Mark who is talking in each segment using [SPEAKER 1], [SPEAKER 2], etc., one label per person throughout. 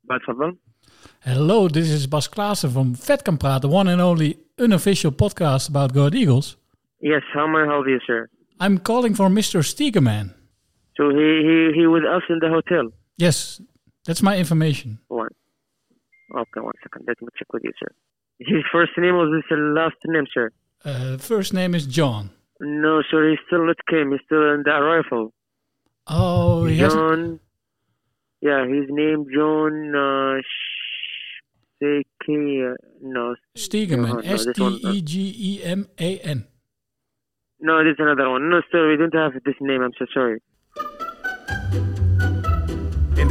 [SPEAKER 1] Bart van Wel.
[SPEAKER 2] Hello, this is Bas Klaassen from Vet Kan Praten, one and only unofficial podcast about Goat Eagles.
[SPEAKER 1] Yes, how may I help you, sir?
[SPEAKER 2] I'm calling for Mr. Stegerman.
[SPEAKER 1] So he he he with us in the hotel.
[SPEAKER 2] Yes, that's my information.
[SPEAKER 1] One. Okay, one second. Let me check with you, sir. His first name was his last name, sir.
[SPEAKER 2] Uh, first name is John.
[SPEAKER 1] No, sir. He still not came. He's still in the arrival.
[SPEAKER 2] Oh, he hasn't-
[SPEAKER 1] John. Yeah, his name John. Uh, Sh- K- K- uh, no,
[SPEAKER 2] Stegeman.
[SPEAKER 1] No, no,
[SPEAKER 2] S
[SPEAKER 1] this
[SPEAKER 2] T
[SPEAKER 1] one-
[SPEAKER 2] E G E M A N.
[SPEAKER 1] no, there's another one. No, sir. We don't have this name. I'm so sorry.
[SPEAKER 3] In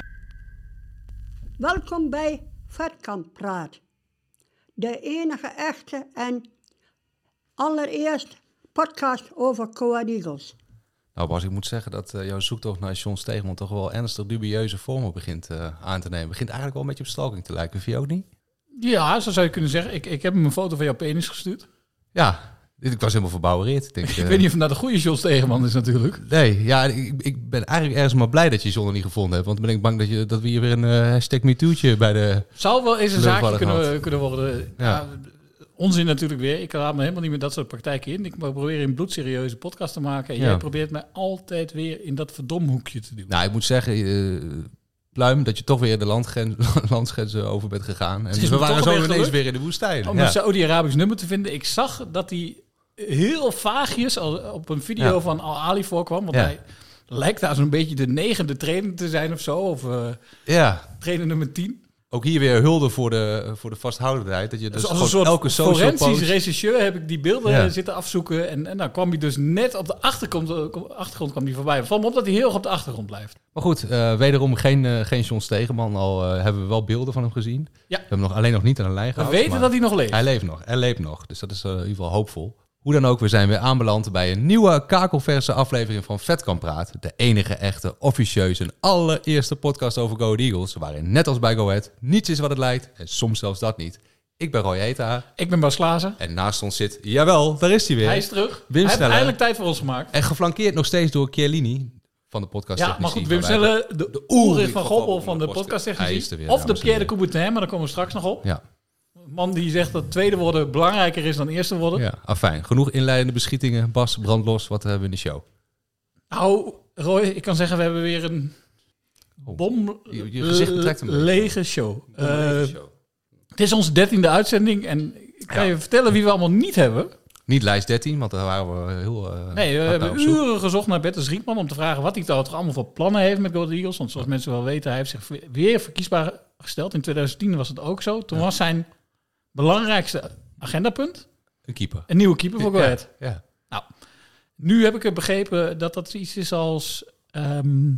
[SPEAKER 4] Welkom bij Vetkamp Praat. De enige echte en allereerst podcast over Coa Eagles.
[SPEAKER 5] Nou Bas, ik moet zeggen dat eh, jouw zoektocht naar John Stegeman toch wel ernstig dubieuze vormen begint eh, aan te nemen. Begint eigenlijk wel een beetje op stalking te lijken, vind je ook niet?
[SPEAKER 2] Ja, zo zou je kunnen zeggen. Ik, ik heb hem een foto van jouw penis gestuurd.
[SPEAKER 5] Ja, dit- ik was helemaal verbouwereerd. Ik, denk,
[SPEAKER 2] Ik
[SPEAKER 5] eh,
[SPEAKER 2] weet niet of dat de goede John Stegeman is natuurlijk.
[SPEAKER 5] Nee, ja, ik, ik ben eigenlijk ergens maar blij dat je John er niet gevonden hebt. Want dan ben ik bang dat, je, dat we hier weer een eh hashtag MeToo'tje bij de...
[SPEAKER 2] Zou wel eens een
[SPEAKER 5] Leuk
[SPEAKER 2] zaakje
[SPEAKER 5] hadden
[SPEAKER 2] kunnen,
[SPEAKER 5] gehad.
[SPEAKER 2] kunnen worden. Ja.
[SPEAKER 5] Ja.
[SPEAKER 2] onzin natuurlijk weer. Ik raad me helemaal niet met dat soort praktijken in. Ik probeer een bloedserieuze podcast te maken. En
[SPEAKER 5] Ja.
[SPEAKER 2] jij probeert mij altijd weer in dat verdomhoekje te duwen.
[SPEAKER 5] Nou, ik moet zeggen, eh, pluim, dat je toch weer de landgren- landsgrenzen over bent gegaan. En we
[SPEAKER 2] is me
[SPEAKER 5] waren
[SPEAKER 2] toch
[SPEAKER 5] zo
[SPEAKER 2] weer
[SPEAKER 5] ineens
[SPEAKER 2] gelukt. Oh,
[SPEAKER 5] weer in de woestijn.
[SPEAKER 2] Om
[SPEAKER 5] Nou, Ja.
[SPEAKER 2] een Saudi-Arabisch nummer te vinden. Ik zag dat hij heel vaagjes al- op een video
[SPEAKER 5] Ja.
[SPEAKER 2] van Al-Ali voorkwam. Want
[SPEAKER 5] Ja.
[SPEAKER 2] hij lijkt daar zo'n beetje de negende trainer te zijn of zo. Of eh,
[SPEAKER 5] ja,
[SPEAKER 2] trainer nummer 10.
[SPEAKER 5] ook hier weer hulde voor de, voor de vasthoudendheid. Dat je dus,
[SPEAKER 2] Dus als
[SPEAKER 5] gewoon
[SPEAKER 2] een soort
[SPEAKER 5] elke social
[SPEAKER 2] forensisch
[SPEAKER 5] post...
[SPEAKER 2] regisseur heb ik die beelden
[SPEAKER 5] Ja.
[SPEAKER 2] eh, zitten afzoeken. En, en dan kwam hij dus net op de achtergrond, eh, kom- achtergrond kwam hij voorbij. Het valt me op dat hij heel erg op de achtergrond blijft.
[SPEAKER 5] Maar goed, eh, wederom geen, eh, geen John Stegeman. Al eh, hebben we wel beelden van hem gezien. We hebben hem nog, alleen nog niet aan de lijn
[SPEAKER 2] We
[SPEAKER 5] gehad.
[SPEAKER 2] weten
[SPEAKER 5] maar
[SPEAKER 2] dat hij nog leeft.
[SPEAKER 5] Hij leeft nog, hij leeft nog. Dus dat is eh, in ieder geval hoopvol. Hoe dan ook, we zijn weer aanbeland bij een nieuwe kakelverse aflevering van Vet kan Praat. De enige echte, officieuze en allereerste podcast over Go Ahead Eagles. Waarin, net als bij Go Ahead, niets is wat het lijkt. En soms zelfs dat niet. Ik ben Roy Eta.
[SPEAKER 2] Ik ben Bas Glazen.
[SPEAKER 5] En naast ons zit, jawel, daar is hij weer.
[SPEAKER 2] Hij is terug.
[SPEAKER 5] Wim
[SPEAKER 2] hij heeft
[SPEAKER 5] Snelle.
[SPEAKER 2] eindelijk tijd voor ons gemaakt.
[SPEAKER 5] En geflankeerd nog steeds door Chiellini van de podcast
[SPEAKER 2] Ja,
[SPEAKER 5] Technici,
[SPEAKER 2] maar goed, Wim
[SPEAKER 5] waarbij we-
[SPEAKER 2] Snelle, de, de oerig van Goppel van de podcast
[SPEAKER 5] Hij is er weer,
[SPEAKER 2] Of
[SPEAKER 5] dames en
[SPEAKER 2] de Pierre de
[SPEAKER 5] heren.
[SPEAKER 2] Coubertin, maar daar komen we straks nog op.
[SPEAKER 5] Ja,
[SPEAKER 2] Man die zegt dat tweede worden belangrijker is dan eerste worden.
[SPEAKER 5] ja. Afijn, genoeg inleidende beschietingen. Bas, brand los, wat hebben we in de show?
[SPEAKER 2] Nou, Roy, ik kan zeggen we hebben weer een
[SPEAKER 5] Oh.
[SPEAKER 2] bom
[SPEAKER 5] Je- je gezicht betrekt hem.
[SPEAKER 2] lege show. Eh, Het is onze dertiende uitzending en ik kan
[SPEAKER 5] Ja.
[SPEAKER 2] je vertellen wie we allemaal niet hebben.
[SPEAKER 5] Niet lijst 13, want daar waren we heel eh
[SPEAKER 2] Nee, we
[SPEAKER 5] hard naar op
[SPEAKER 2] hebben
[SPEAKER 5] zoek.
[SPEAKER 2] uren gezocht naar Bertus Rietman om te vragen wat hij daar toch allemaal voor plannen heeft met Go Ahead Eagles. Want zoals mensen wel weten, hij heeft zich weer verkiesbaar gesteld. In 2010 was dat ook zo. Toen was zijn belangrijkste agendapunt
[SPEAKER 5] Een keeper.
[SPEAKER 2] een nieuwe keeper voor Go Ahead.
[SPEAKER 5] Ja, ja.
[SPEAKER 2] Nu heb ik er begrepen dat dat iets is als... ehm,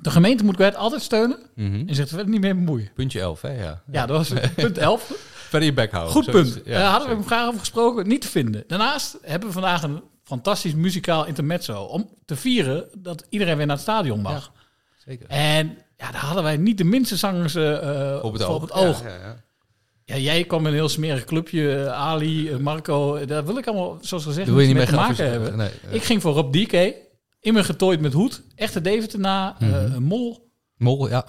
[SPEAKER 2] de gemeente moet Go Ahead altijd steunen
[SPEAKER 5] Mhm.
[SPEAKER 2] en zich er verder niet mee bemoeien.
[SPEAKER 5] Puntje 11, hè? Ja.
[SPEAKER 2] Ja, dat was punt 11.
[SPEAKER 5] Verder je bek houden.
[SPEAKER 2] Goed
[SPEAKER 5] Zo
[SPEAKER 2] punt.
[SPEAKER 5] is-
[SPEAKER 2] Daar Eh, hadden we
[SPEAKER 5] zeker.
[SPEAKER 2] hem graag over gesproken, niet te vinden. Daarnaast hebben we vandaag een fantastisch muzikaal intermezzo. Om te vieren dat iedereen weer naar het stadion mag.
[SPEAKER 5] Zeker.
[SPEAKER 2] En ja, daar hadden wij niet de minste zangers eh, eh,
[SPEAKER 5] Op het
[SPEAKER 2] voor
[SPEAKER 5] oog.
[SPEAKER 2] Op het oog.
[SPEAKER 5] Ja, ja, ja.
[SPEAKER 2] Ja, jij kwam in een heel smerig clubje. eh, Ali, eh, Marco. Daar wil ik allemaal, zoals gezegd,
[SPEAKER 5] Daar wil je
[SPEAKER 2] niets
[SPEAKER 5] niet mee
[SPEAKER 2] te
[SPEAKER 5] gaan
[SPEAKER 2] maken
[SPEAKER 5] adviseren.
[SPEAKER 2] hebben.
[SPEAKER 5] Nee, eh.
[SPEAKER 2] Ik ging voor Rob DK. Immer getooid met hoed. Echte Deventer
[SPEAKER 5] Mhm.
[SPEAKER 2] eh een Mol.
[SPEAKER 5] Mol, ja.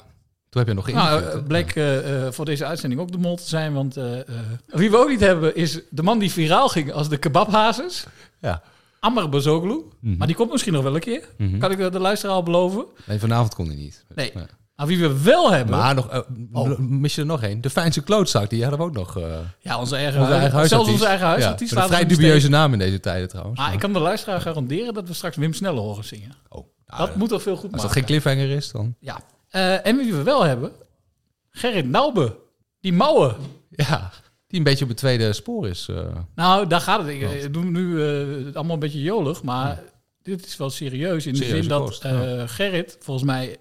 [SPEAKER 5] Toen heb je nog
[SPEAKER 2] Nou,
[SPEAKER 5] geïnterviewd,
[SPEAKER 2] eh,
[SPEAKER 5] hè?
[SPEAKER 2] bleek eh, eh, voor deze uitzending ook de mol te zijn. Want eh, eh, wie we ook niet hebben is de man die viraal ging als de kebabhazes.
[SPEAKER 5] Ja.
[SPEAKER 2] Amar Bazoglu.
[SPEAKER 5] Mhm.
[SPEAKER 2] Maar die komt misschien nog wel een keer. Kan ik dat de luisteraar al beloven?
[SPEAKER 5] Nee, vanavond kon hij niet.
[SPEAKER 2] Nee. Oh. Maar wie we wel hebben.
[SPEAKER 5] Maar nog, eh, mis je er nog één? De fijnste klootzak, die hadden we ook nog. eh,
[SPEAKER 2] ja, onze eigen,
[SPEAKER 5] onze
[SPEAKER 2] huis-
[SPEAKER 5] eigen huisartiest.
[SPEAKER 2] Zelfs onze eigen huis.
[SPEAKER 5] Ja,
[SPEAKER 2] die
[SPEAKER 5] met een
[SPEAKER 2] staat
[SPEAKER 5] vrij
[SPEAKER 2] er nog
[SPEAKER 5] dubieuze
[SPEAKER 2] steeds.
[SPEAKER 5] naam in deze tijden trouwens.
[SPEAKER 2] Maar ik kan de luisteraar garanderen dat we straks Wim Snelle horen zingen.
[SPEAKER 5] Oh, nou,
[SPEAKER 2] dat moet toch veel goed
[SPEAKER 5] Als
[SPEAKER 2] maken.
[SPEAKER 5] dat geen cliffhanger is, dan...
[SPEAKER 2] ja. Eh, en wie we wel hebben. Gerrit Naube. Die mouwen.
[SPEAKER 5] Ja, die een beetje op het tweede spoor is. eh.
[SPEAKER 2] Nou, daar gaat het. Ik eh, doe nu eh, het allemaal een beetje jolig, maar dit is wel serieus in de
[SPEAKER 5] Serieuze
[SPEAKER 2] zin dat
[SPEAKER 5] kost, ja.
[SPEAKER 2] eh, Gerrit volgens mij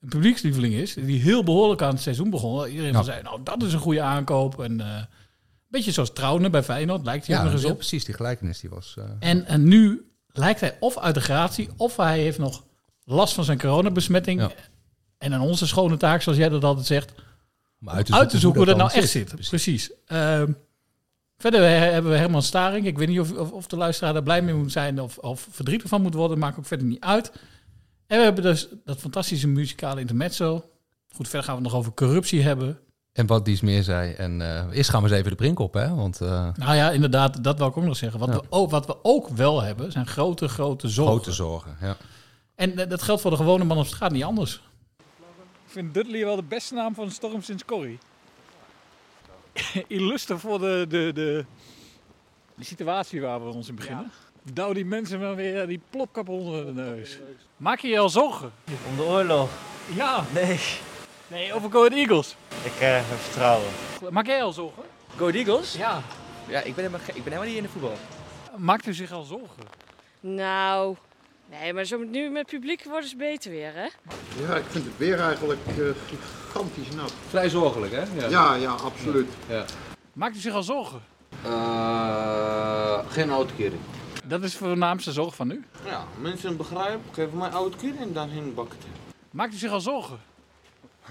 [SPEAKER 2] een publiekslieveling is, die heel behoorlijk aan het seizoen begon. Iedereen
[SPEAKER 5] Ja.
[SPEAKER 2] zei, nou, dat is een goede aankoop. En eh, een beetje zoals Trouwner bij Feyenoord, lijkt hij
[SPEAKER 5] Ja,
[SPEAKER 2] er nog eens
[SPEAKER 5] ja,
[SPEAKER 2] op.
[SPEAKER 5] precies. Die gelijkenis die was... eh,
[SPEAKER 2] En, en nu lijkt hij of uit de gratie, of hij heeft nog last van zijn coronabesmetting.
[SPEAKER 5] Ja.
[SPEAKER 2] En aan onze schone taak, zoals jij dat altijd zegt,
[SPEAKER 5] om
[SPEAKER 2] uit te zoeken hoe dat
[SPEAKER 5] dan
[SPEAKER 2] nou echt zit. Precies. Ehm, verder we- hebben we Herman Staring. Ik weet niet of, of, of de luisteraar daar blij mee moet zijn of, of verdrietig van moet worden. Maakt ook verder niet uit. En we hebben dus dat fantastische muzikale intermezzo. Goed, verder gaan we het nog over corruptie hebben.
[SPEAKER 5] En wat Dies meer zei. En eh, eerst gaan we eens even de brink op, hè? Want eh,
[SPEAKER 2] Nou ja, inderdaad, dat wil ik ook nog zeggen. Wat, we, ook, wat we ook wel hebben, zijn grote, grote zorgen.
[SPEAKER 5] grote zorgen. Ja.
[SPEAKER 2] En eh, dat geldt voor de gewone man op straat niet anders.
[SPEAKER 6] Ik vind Dudley wel de beste naam van de storm sinds Corrie. Illuster voor de, de, de, de situatie waar we ons in beginnen. Douw die mensen maar weer eh, die plopkap onder de neus. Maak je je al zorgen?
[SPEAKER 7] Om de oorlog?
[SPEAKER 6] Ja,
[SPEAKER 7] Nee.
[SPEAKER 6] nee, over Go Ahead Eagles.
[SPEAKER 7] Ik krijg heb vertrouwen.
[SPEAKER 6] Maak jij al zorgen?
[SPEAKER 7] Go Eagles?
[SPEAKER 6] Ja.
[SPEAKER 7] Ja, ik ben, helemaal, ge- ik ben helemaal niet in de voetbal.
[SPEAKER 6] Maakt u zich al zorgen?
[SPEAKER 8] Nou, nee, maar zo met- nu met publiek worden ze beter weer, hè?
[SPEAKER 9] Ja, ik vind het weer eigenlijk eh, gigantisch nat.
[SPEAKER 5] Vrij zorgelijk, hè?
[SPEAKER 9] Ja, ja, absoluut.
[SPEAKER 6] Maakt u zich al zorgen?
[SPEAKER 10] Eh, geen uitkering.
[SPEAKER 6] Dat is voornaamste zorg van u.
[SPEAKER 10] Ja, mensen begrijpen, geef mij uitkering en dan hun bakken.
[SPEAKER 6] Maakt u zich al zorgen?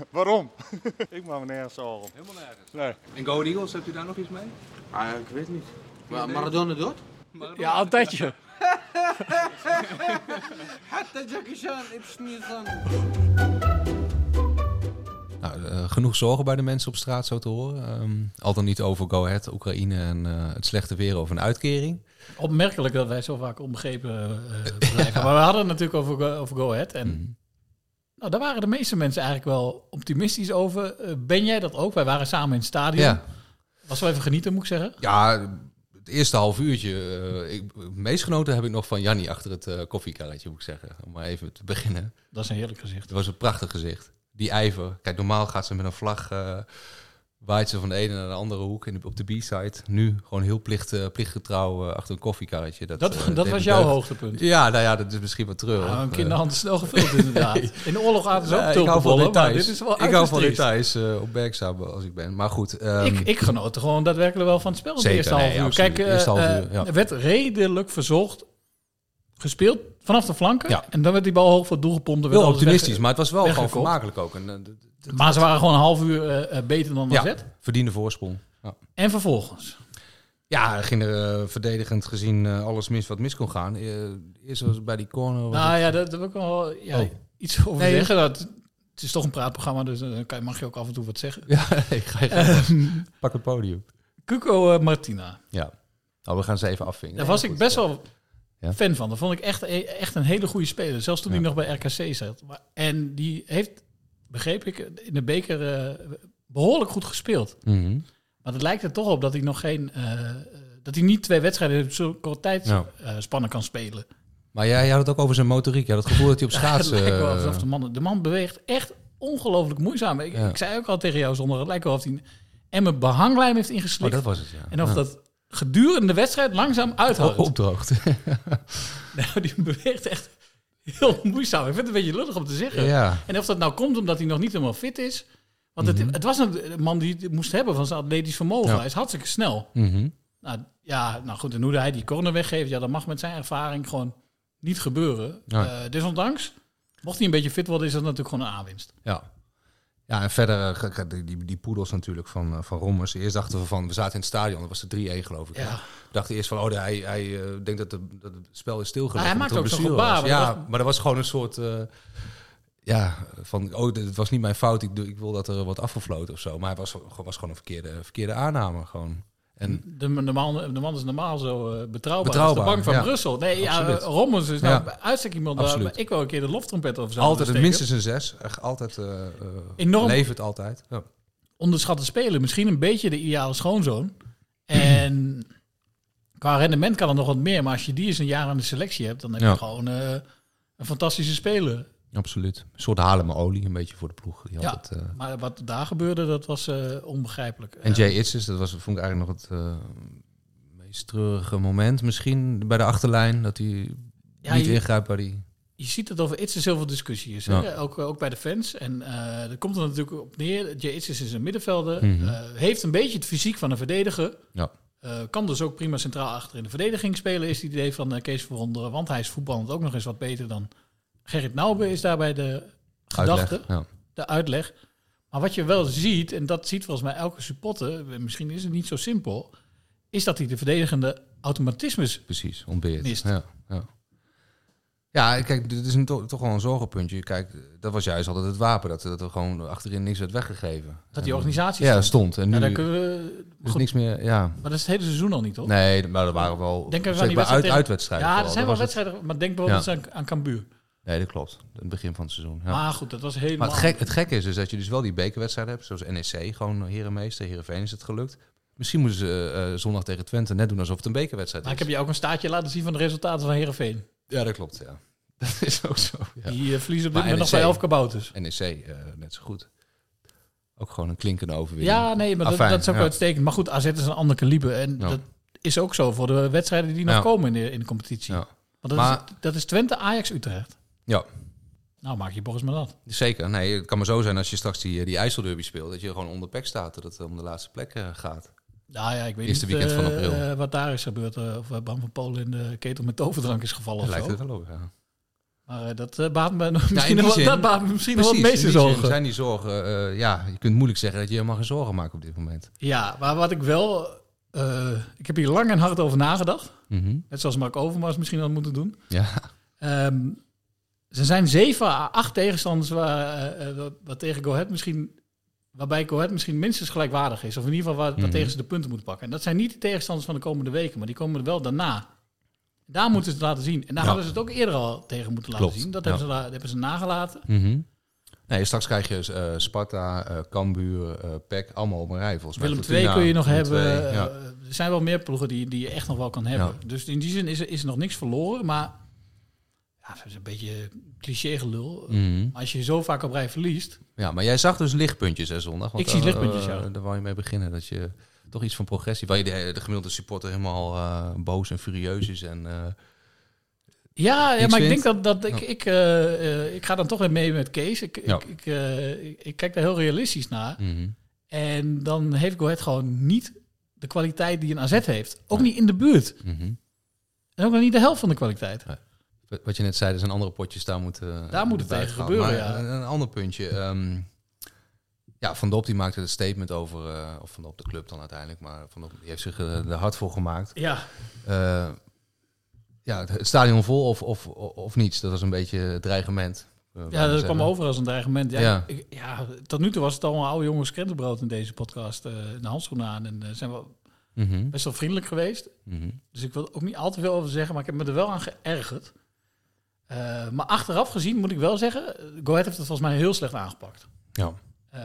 [SPEAKER 11] Waarom? ik maak me nergens zorgen.
[SPEAKER 5] Helemaal nergens.
[SPEAKER 11] Nee.
[SPEAKER 5] En Go Eagles, hebt u daar nog iets mee?
[SPEAKER 10] Ah, ik weet niet. Maar Maradona dood?
[SPEAKER 6] Ja, altijd je.
[SPEAKER 10] Hatta Jackie Chan, het is niet aan.
[SPEAKER 5] Nou, eh, genoeg zorgen bij de mensen op straat, zo te horen. Ehm, al dan niet over Go Ahead, Oekraïne en eh, het slechte weer over een uitkering.
[SPEAKER 2] Opmerkelijk dat wij zo vaak onbegrepen eh, blijven. Maar we hadden het natuurlijk over, Go- over Go Ahead. En
[SPEAKER 5] Mm.
[SPEAKER 2] nou, daar waren de meeste mensen eigenlijk wel optimistisch over. Eh, ben jij dat ook? Wij waren samen in het stadion.
[SPEAKER 5] Ja.
[SPEAKER 2] Was wel even genieten, moet ik zeggen.
[SPEAKER 5] Ja, het eerste half uurtje. eh, ik, het meest genoten heb ik nog van Jannie achter het eh, koffiekarretje, moet ik zeggen. Om maar even te beginnen.
[SPEAKER 2] Dat is een heerlijk gezicht.
[SPEAKER 5] Het was een prachtig gezicht. Die ijver. Kijk, normaal gaat ze met een vlag... eh waait ze van de ene naar de andere hoek in de- op de B-side. Nu gewoon heel plicht, eh, plichtgetrouw eh, achter een koffiekarretje. Dat,
[SPEAKER 2] Dat-
[SPEAKER 5] eh,
[SPEAKER 2] dat
[SPEAKER 5] deed
[SPEAKER 2] was
[SPEAKER 5] me
[SPEAKER 2] jouw
[SPEAKER 5] deugd.
[SPEAKER 2] hoogtepunt?
[SPEAKER 5] Ja, nou ja, dat is misschien wat treurig.
[SPEAKER 2] Nou, een
[SPEAKER 5] Eh,
[SPEAKER 2] kinderhand is snel gevuld, inderdaad. In de oorlog hadden ze ook
[SPEAKER 5] Ja, ik hou van
[SPEAKER 2] tulpenbollen, maar
[SPEAKER 5] details.
[SPEAKER 2] dit is wel
[SPEAKER 5] ik hou van
[SPEAKER 2] uiterst
[SPEAKER 5] details eh, opmerkzaam als ik ben. Maar goed. ehm,
[SPEAKER 2] ik, ik genoot er gewoon daadwerkelijk wel van het spel. in
[SPEAKER 5] Zeker,
[SPEAKER 2] de eerste half
[SPEAKER 5] nee,
[SPEAKER 2] uur.
[SPEAKER 5] absoluut.
[SPEAKER 2] Kijk, eh,
[SPEAKER 5] Eerste half
[SPEAKER 2] eh,
[SPEAKER 5] uur, ja.
[SPEAKER 2] er werd redelijk verzocht. Gespeeld vanaf de flanken.
[SPEAKER 5] Ja.
[SPEAKER 2] En dan werd die bal hoog voor het doel gepompt. er werd
[SPEAKER 5] Wel
[SPEAKER 2] alles
[SPEAKER 5] optimistisch,
[SPEAKER 2] weg-
[SPEAKER 5] maar het was wel gewoon
[SPEAKER 2] weggekopt.
[SPEAKER 5] vermakelijk ook. En, eh, d- d- d-
[SPEAKER 2] Maar ze waren gewoon een half uur eh, eh, beter dan
[SPEAKER 5] ja,
[SPEAKER 2] AZ.
[SPEAKER 5] verdiende voorsprong. Ja.
[SPEAKER 2] En vervolgens.
[SPEAKER 5] Ja, ging er eh, verdedigend gezien eh, alles mis wat mis kon gaan. Eh, eerst was het bij die corner. was
[SPEAKER 2] Nou
[SPEAKER 5] het-
[SPEAKER 2] ja, daar daar wil ik wel ja,
[SPEAKER 5] Oh.
[SPEAKER 2] iets over
[SPEAKER 5] Nee,
[SPEAKER 2] zeggen. Dat, het is toch een praatprogramma, dus dan kan, je- mag je ook af en toe wat zeggen.
[SPEAKER 5] Ja, ik ga je
[SPEAKER 2] Ehm,
[SPEAKER 5] pak het podium.
[SPEAKER 2] Cuco eh, Martina.
[SPEAKER 5] Ja. Nou, we gaan ze even afvinken.
[SPEAKER 2] Daar was ik best wel
[SPEAKER 5] Ja.
[SPEAKER 2] fan van. Dat vond ik echt, e- echt een hele goede speler. Zelfs toen hij nog bij RKC zat. Maar- En die heeft, begreep ik, in de beker eh, behoorlijk goed gespeeld.
[SPEAKER 5] Mhm.
[SPEAKER 2] Maar het lijkt er toch op dat hij nog geen... eh, dat hij niet twee wedstrijden op zo'n korte tijd
[SPEAKER 5] Ja.
[SPEAKER 2] eh, spannen kan spelen.
[SPEAKER 5] Maar jij, jij had het ook over zijn motoriek. Je had het gevoel dat hij op
[SPEAKER 2] Het
[SPEAKER 5] schaatsen...
[SPEAKER 2] lijkt wel
[SPEAKER 5] eh,
[SPEAKER 2] alsof de man... De man beweegt echt ongelooflijk moeizaam. Ik,
[SPEAKER 5] Ja.
[SPEAKER 2] ik zei ook al tegen jou zonder... Het lijkt wel of hij een emmer behanglijm heeft
[SPEAKER 5] oh,
[SPEAKER 2] ingeslikt.
[SPEAKER 5] dat was het, ja.
[SPEAKER 2] en of
[SPEAKER 5] Ja. Oh.
[SPEAKER 2] dat gedurende de wedstrijd langzaam uithoudt.
[SPEAKER 5] Opdroogt.
[SPEAKER 2] Nou, die beweegt echt heel moeizaam. Ik vind het een beetje lullig om te zeggen.
[SPEAKER 5] ja.
[SPEAKER 2] En of dat nou komt omdat hij nog niet helemaal fit is. Want het, het was een man die het moest hebben van zijn atletisch vermogen.
[SPEAKER 5] Mhm. Ja.
[SPEAKER 2] Hij is hartstikke snel.
[SPEAKER 5] Mhm.
[SPEAKER 2] Nou, ja, nou goed, en hoe hij die corner weggeeft, ja, dat mag met zijn ervaring gewoon niet gebeuren.
[SPEAKER 5] Nee.
[SPEAKER 2] Eh, desondanks, mocht hij een beetje fit worden, is dat natuurlijk gewoon een aanwinst.
[SPEAKER 5] Ja. Ja, en verder eh, ge- ge- die, die, die poedels natuurlijk van, eh, van Rommers. Eerst dachten we van, we zaten in het stadion, dat was de 3-1 geloof ik.
[SPEAKER 2] Ja.
[SPEAKER 5] We dachten eerst van, oh, hij, hij eh, denkt dat, de, dat het spel is stilgelegd.
[SPEAKER 2] Maar hij
[SPEAKER 5] omdat er
[SPEAKER 2] maakte ook
[SPEAKER 5] een
[SPEAKER 2] zo'n
[SPEAKER 5] blessure
[SPEAKER 2] gebaar,
[SPEAKER 5] was.
[SPEAKER 2] want
[SPEAKER 5] Ja,
[SPEAKER 2] dat was-
[SPEAKER 5] maar dat was gewoon een soort, eh, ja, van, oh, dit- het was niet mijn fout. Ik, doe- ik wil dat er wat afgefloten of zo. Maar hij was, was gewoon een verkeerde, verkeerde aanname gewoon.
[SPEAKER 2] Mm.
[SPEAKER 5] En
[SPEAKER 2] De, de, man, de man is normaal zo eh, betrouwbaar.
[SPEAKER 5] Betrouwbaar,
[SPEAKER 2] als de bank van
[SPEAKER 5] ja.
[SPEAKER 2] Brussel. Nee, ja,
[SPEAKER 5] Absoluut.
[SPEAKER 2] eh, Rommers is nou
[SPEAKER 5] Ja.
[SPEAKER 2] bij uitstek iemand waar
[SPEAKER 5] Absoluut.
[SPEAKER 2] ik wel een keer de loftrompet over zou
[SPEAKER 5] altijd het
[SPEAKER 2] willen steken.
[SPEAKER 5] minstens een zes. Echt Altijd eh, eh,
[SPEAKER 2] Enorm.
[SPEAKER 5] levert altijd. Ja.
[SPEAKER 2] onderschatte speler. Misschien een beetje de ideale schoonzoon. En qua rendement kan er nog wat meer. Maar als je die eens een jaar aan de selectie hebt, dan heb je
[SPEAKER 5] Ja.
[SPEAKER 2] gewoon eh, een fantastische speler.
[SPEAKER 5] Absoluut. Een soort halen met olie, een beetje voor de ploeg. Die had
[SPEAKER 2] Ja.
[SPEAKER 5] het, eh,
[SPEAKER 2] Maar wat daar gebeurde, dat was eh, onbegrijpelijk. Eh,
[SPEAKER 5] En Jay Itzes, dat was, vond ik eigenlijk nog het eh, meest treurige moment misschien bij de achterlijn. Dat hij
[SPEAKER 2] Ja,
[SPEAKER 5] niet
[SPEAKER 2] je-
[SPEAKER 5] ingrijpt waar hij...
[SPEAKER 2] je ziet dat over Itses heel veel discussie is. hè?
[SPEAKER 5] Ja.
[SPEAKER 2] Ook, eh, ook bij de fans. En eh dat komt er natuurlijk op neer. Jay Itses is een middenvelder.
[SPEAKER 5] Mhm.
[SPEAKER 2] eh, heeft een beetje het fysiek van een verdediger.
[SPEAKER 5] Ja.
[SPEAKER 2] Eh, kan dus ook prima centraal achter in de verdediging spelen, is het idee van eh, Kees Verwonderen. Want hij is voetballend ook nog eens wat beter dan Gerrit Nauben is daarbij de gedachte,
[SPEAKER 5] Uitleg, ja.
[SPEAKER 2] de uitleg. Maar wat je wel ziet, en dat ziet volgens mij elke supporter, misschien is het niet zo simpel, is dat hij de verdedigende automatismes
[SPEAKER 5] Precies, ontbeert.
[SPEAKER 2] mist.
[SPEAKER 5] Ja, ja. ja, kijk, dit is een to- toch wel een zorgenpuntje. Kijk, dat was juist altijd het wapen, dat, dat er gewoon achterin niks werd weggegeven.
[SPEAKER 2] Dat
[SPEAKER 5] En-
[SPEAKER 2] die organisatie
[SPEAKER 5] Ja, stond. En nu
[SPEAKER 2] Ja, daar kunnen we,
[SPEAKER 5] is
[SPEAKER 2] goed.
[SPEAKER 5] niks meer, ja.
[SPEAKER 2] Maar dat is het hele seizoen al niet, toch?
[SPEAKER 5] Nee, maar er waren wel
[SPEAKER 2] Denk even aan
[SPEAKER 5] zeker bij
[SPEAKER 2] die wedstrijd
[SPEAKER 5] uit,
[SPEAKER 2] tegen-
[SPEAKER 5] uitwedstrijden.
[SPEAKER 2] Ja, er
[SPEAKER 5] vooral.
[SPEAKER 2] zijn
[SPEAKER 5] Dat
[SPEAKER 2] wel
[SPEAKER 5] was het-
[SPEAKER 2] wedstrijden, maar denk bijvoorbeeld eens aan, aan Cambuur.
[SPEAKER 5] Nee, dat klopt. In het begin van het seizoen. Ja.
[SPEAKER 2] Maar goed, dat was helemaal
[SPEAKER 5] Maar het, gek, het gekke is dus dat je dus wel die bekerwedstrijden hebt, zoals NEC, gewoon Herenmeester, Herenveen is het gelukt. Misschien moeten ze eh, eh, zondag tegen Twente net doen alsof het een bekerwedstrijd
[SPEAKER 2] Maar
[SPEAKER 5] is.
[SPEAKER 2] ik heb je ook een staartje laten zien van de resultaten van Herenveen.
[SPEAKER 5] Ja, dat klopt, ja. Dat is ook zo. Ja.
[SPEAKER 2] Die eh, verliezen op dit
[SPEAKER 5] Maar E
[SPEAKER 2] moment nog
[SPEAKER 5] NEC
[SPEAKER 2] bij elf kabouters.
[SPEAKER 5] NEC, eh, net zo goed. Ook gewoon een klinkende overwinning.
[SPEAKER 2] Ja, nee, maar dat,
[SPEAKER 5] Afijn,
[SPEAKER 2] dat is ook
[SPEAKER 5] ja.
[SPEAKER 2] uitstekend. Maar goed, AZ is een ander kaliber. En
[SPEAKER 5] Ja.
[SPEAKER 2] dat is ook zo voor de wedstrijden die nog
[SPEAKER 5] Ja.
[SPEAKER 2] komen in de, in de competitie.
[SPEAKER 5] Ja.
[SPEAKER 2] Want dat,
[SPEAKER 5] Maar-
[SPEAKER 2] is, dat is Twente, Ajax, Utrecht.
[SPEAKER 5] Ja.
[SPEAKER 2] Nou, maak je Boris maar dat.
[SPEAKER 5] Zeker. Nee, het kan maar zo zijn als je straks die, eh, die IJsselderby speelt, dat je gewoon onder pek staat, dat het om de laatste plek eh, gaat.
[SPEAKER 2] Nou ja, ik weet
[SPEAKER 5] Eerste
[SPEAKER 2] niet
[SPEAKER 5] weekend van
[SPEAKER 2] eh,
[SPEAKER 5] april.
[SPEAKER 2] eh, wat daar is gebeurd. eh, of eh, Bram van Polen in de ketel met toverdrank is gevallen.
[SPEAKER 5] Dat
[SPEAKER 2] of
[SPEAKER 5] lijkt
[SPEAKER 2] zo.
[SPEAKER 5] het wel op, ja.
[SPEAKER 2] Maar eh, dat eh, baat me nog-
[SPEAKER 5] Ja,
[SPEAKER 2] misschien,
[SPEAKER 5] in
[SPEAKER 2] nog
[SPEAKER 5] die
[SPEAKER 2] wel-
[SPEAKER 5] zin-
[SPEAKER 2] dat baat me misschien nog wel het
[SPEAKER 5] Precies,
[SPEAKER 2] meeste
[SPEAKER 5] in die zin
[SPEAKER 2] zorgen.
[SPEAKER 5] Zijn die zorgen, eh, ja, je kunt moeilijk zeggen dat je helemaal geen zorgen maakt op dit moment.
[SPEAKER 2] Ja, maar wat ik wel... eh, ik heb hier lang en hard over nagedacht.
[SPEAKER 5] Mhm.
[SPEAKER 2] Net zoals Mark Overmars misschien had moeten doen.
[SPEAKER 5] Ja.
[SPEAKER 2] Ehm, er zijn zeven à acht tegenstanders waar, eh, eh, wat- wat tegen Go Ahead misschien, waarbij Go Ahead misschien minstens gelijkwaardig is. Of in ieder geval waar, waar
[SPEAKER 5] Mhm.
[SPEAKER 2] tegen ze de punten moeten pakken. En dat zijn niet de tegenstanders van de komende weken, maar die komen er wel daarna. Daar moeten ze het laten zien. En daar
[SPEAKER 5] Ja.
[SPEAKER 2] hadden ze het ook eerder al tegen moeten laten
[SPEAKER 5] Klopt,
[SPEAKER 2] zien. Dat
[SPEAKER 5] ja.
[SPEAKER 2] hebben, ze, la- hebben ze nagelaten.
[SPEAKER 5] Mhm. Nee, straks krijg je eh, Sparta, eh Cambuur, eh PEC, allemaal op een rij volgens mij.
[SPEAKER 2] Willem
[SPEAKER 5] Fortuna,
[SPEAKER 2] II kun je nog
[SPEAKER 5] Willem
[SPEAKER 2] hebben.
[SPEAKER 5] II,
[SPEAKER 2] Eh,
[SPEAKER 5] ja.
[SPEAKER 2] Er zijn wel meer ploegen die, die je echt nog wel kan hebben. Dus in die zin is er, is er nog niks verloren. Maar ja, dat is een beetje cliché gelul.
[SPEAKER 5] Mhm.
[SPEAKER 2] Maar als je zo vaak op rij verliest,
[SPEAKER 5] Ja, maar jij zag dus lichtpuntjes hè, zondag.
[SPEAKER 2] Ik zie
[SPEAKER 5] eh,
[SPEAKER 2] lichtpuntjes, ja.
[SPEAKER 5] eh, Daar wou je mee beginnen, dat je toch iets van progressie... Waar je de, de gemiddelde supporter helemaal eh, boos en furieus is en... eh,
[SPEAKER 2] Ja, ja
[SPEAKER 5] niks
[SPEAKER 2] maar ik denk
[SPEAKER 5] vindt.
[SPEAKER 2] dat, dat ik,
[SPEAKER 5] Ja.
[SPEAKER 2] ik, eh, eh, ik ga dan toch weer mee met Kees. Ik,
[SPEAKER 5] Ja.
[SPEAKER 2] ik, ik, eh, ik, ik kijk daar heel realistisch naar.
[SPEAKER 5] Mhm.
[SPEAKER 2] En dan heeft Go Ahead gewoon niet de kwaliteit die een AZ heeft. Ook niet in de buurt.
[SPEAKER 5] Mhm.
[SPEAKER 2] En ook nog niet de helft van de kwaliteit.
[SPEAKER 5] Wat je net zei, er zijn andere potjes, daar moet, eh,
[SPEAKER 2] Daar moet het
[SPEAKER 5] bij
[SPEAKER 2] tegen
[SPEAKER 5] gaan.
[SPEAKER 2] gebeuren,
[SPEAKER 5] Maar
[SPEAKER 2] ja.
[SPEAKER 5] een, een ander puntje. ehm, ja, Van Dop die maakte het statement over, eh, of Van Dop de club dan uiteindelijk, maar Van Dop die heeft zich eh, er hard voor gemaakt.
[SPEAKER 2] Ja.
[SPEAKER 5] Eh, ja, het- het stadion vol of, of, of niets, dat was een beetje het dreigement. eh,
[SPEAKER 2] Ja,
[SPEAKER 5] wou
[SPEAKER 2] dat
[SPEAKER 5] ik
[SPEAKER 2] kwam
[SPEAKER 5] zeggen.
[SPEAKER 2] over als een dreigement. Ja,
[SPEAKER 5] Ja.
[SPEAKER 2] ik- ja, tot nu toe was het allemaal oude jongens krentenbrood in deze podcast. eh de handschoenen aan. En eh, zijn we
[SPEAKER 5] Mhm.
[SPEAKER 2] best wel vriendelijk geweest.
[SPEAKER 5] Mhm.
[SPEAKER 2] Dus ik wil er ook niet al te veel over zeggen, maar ik heb me er wel aan geërgerd. Eh, maar achteraf gezien moet ik wel zeggen, eh, Go Ahead heeft het volgens mij heel slecht aangepakt.
[SPEAKER 5] Ja.
[SPEAKER 2] Eh,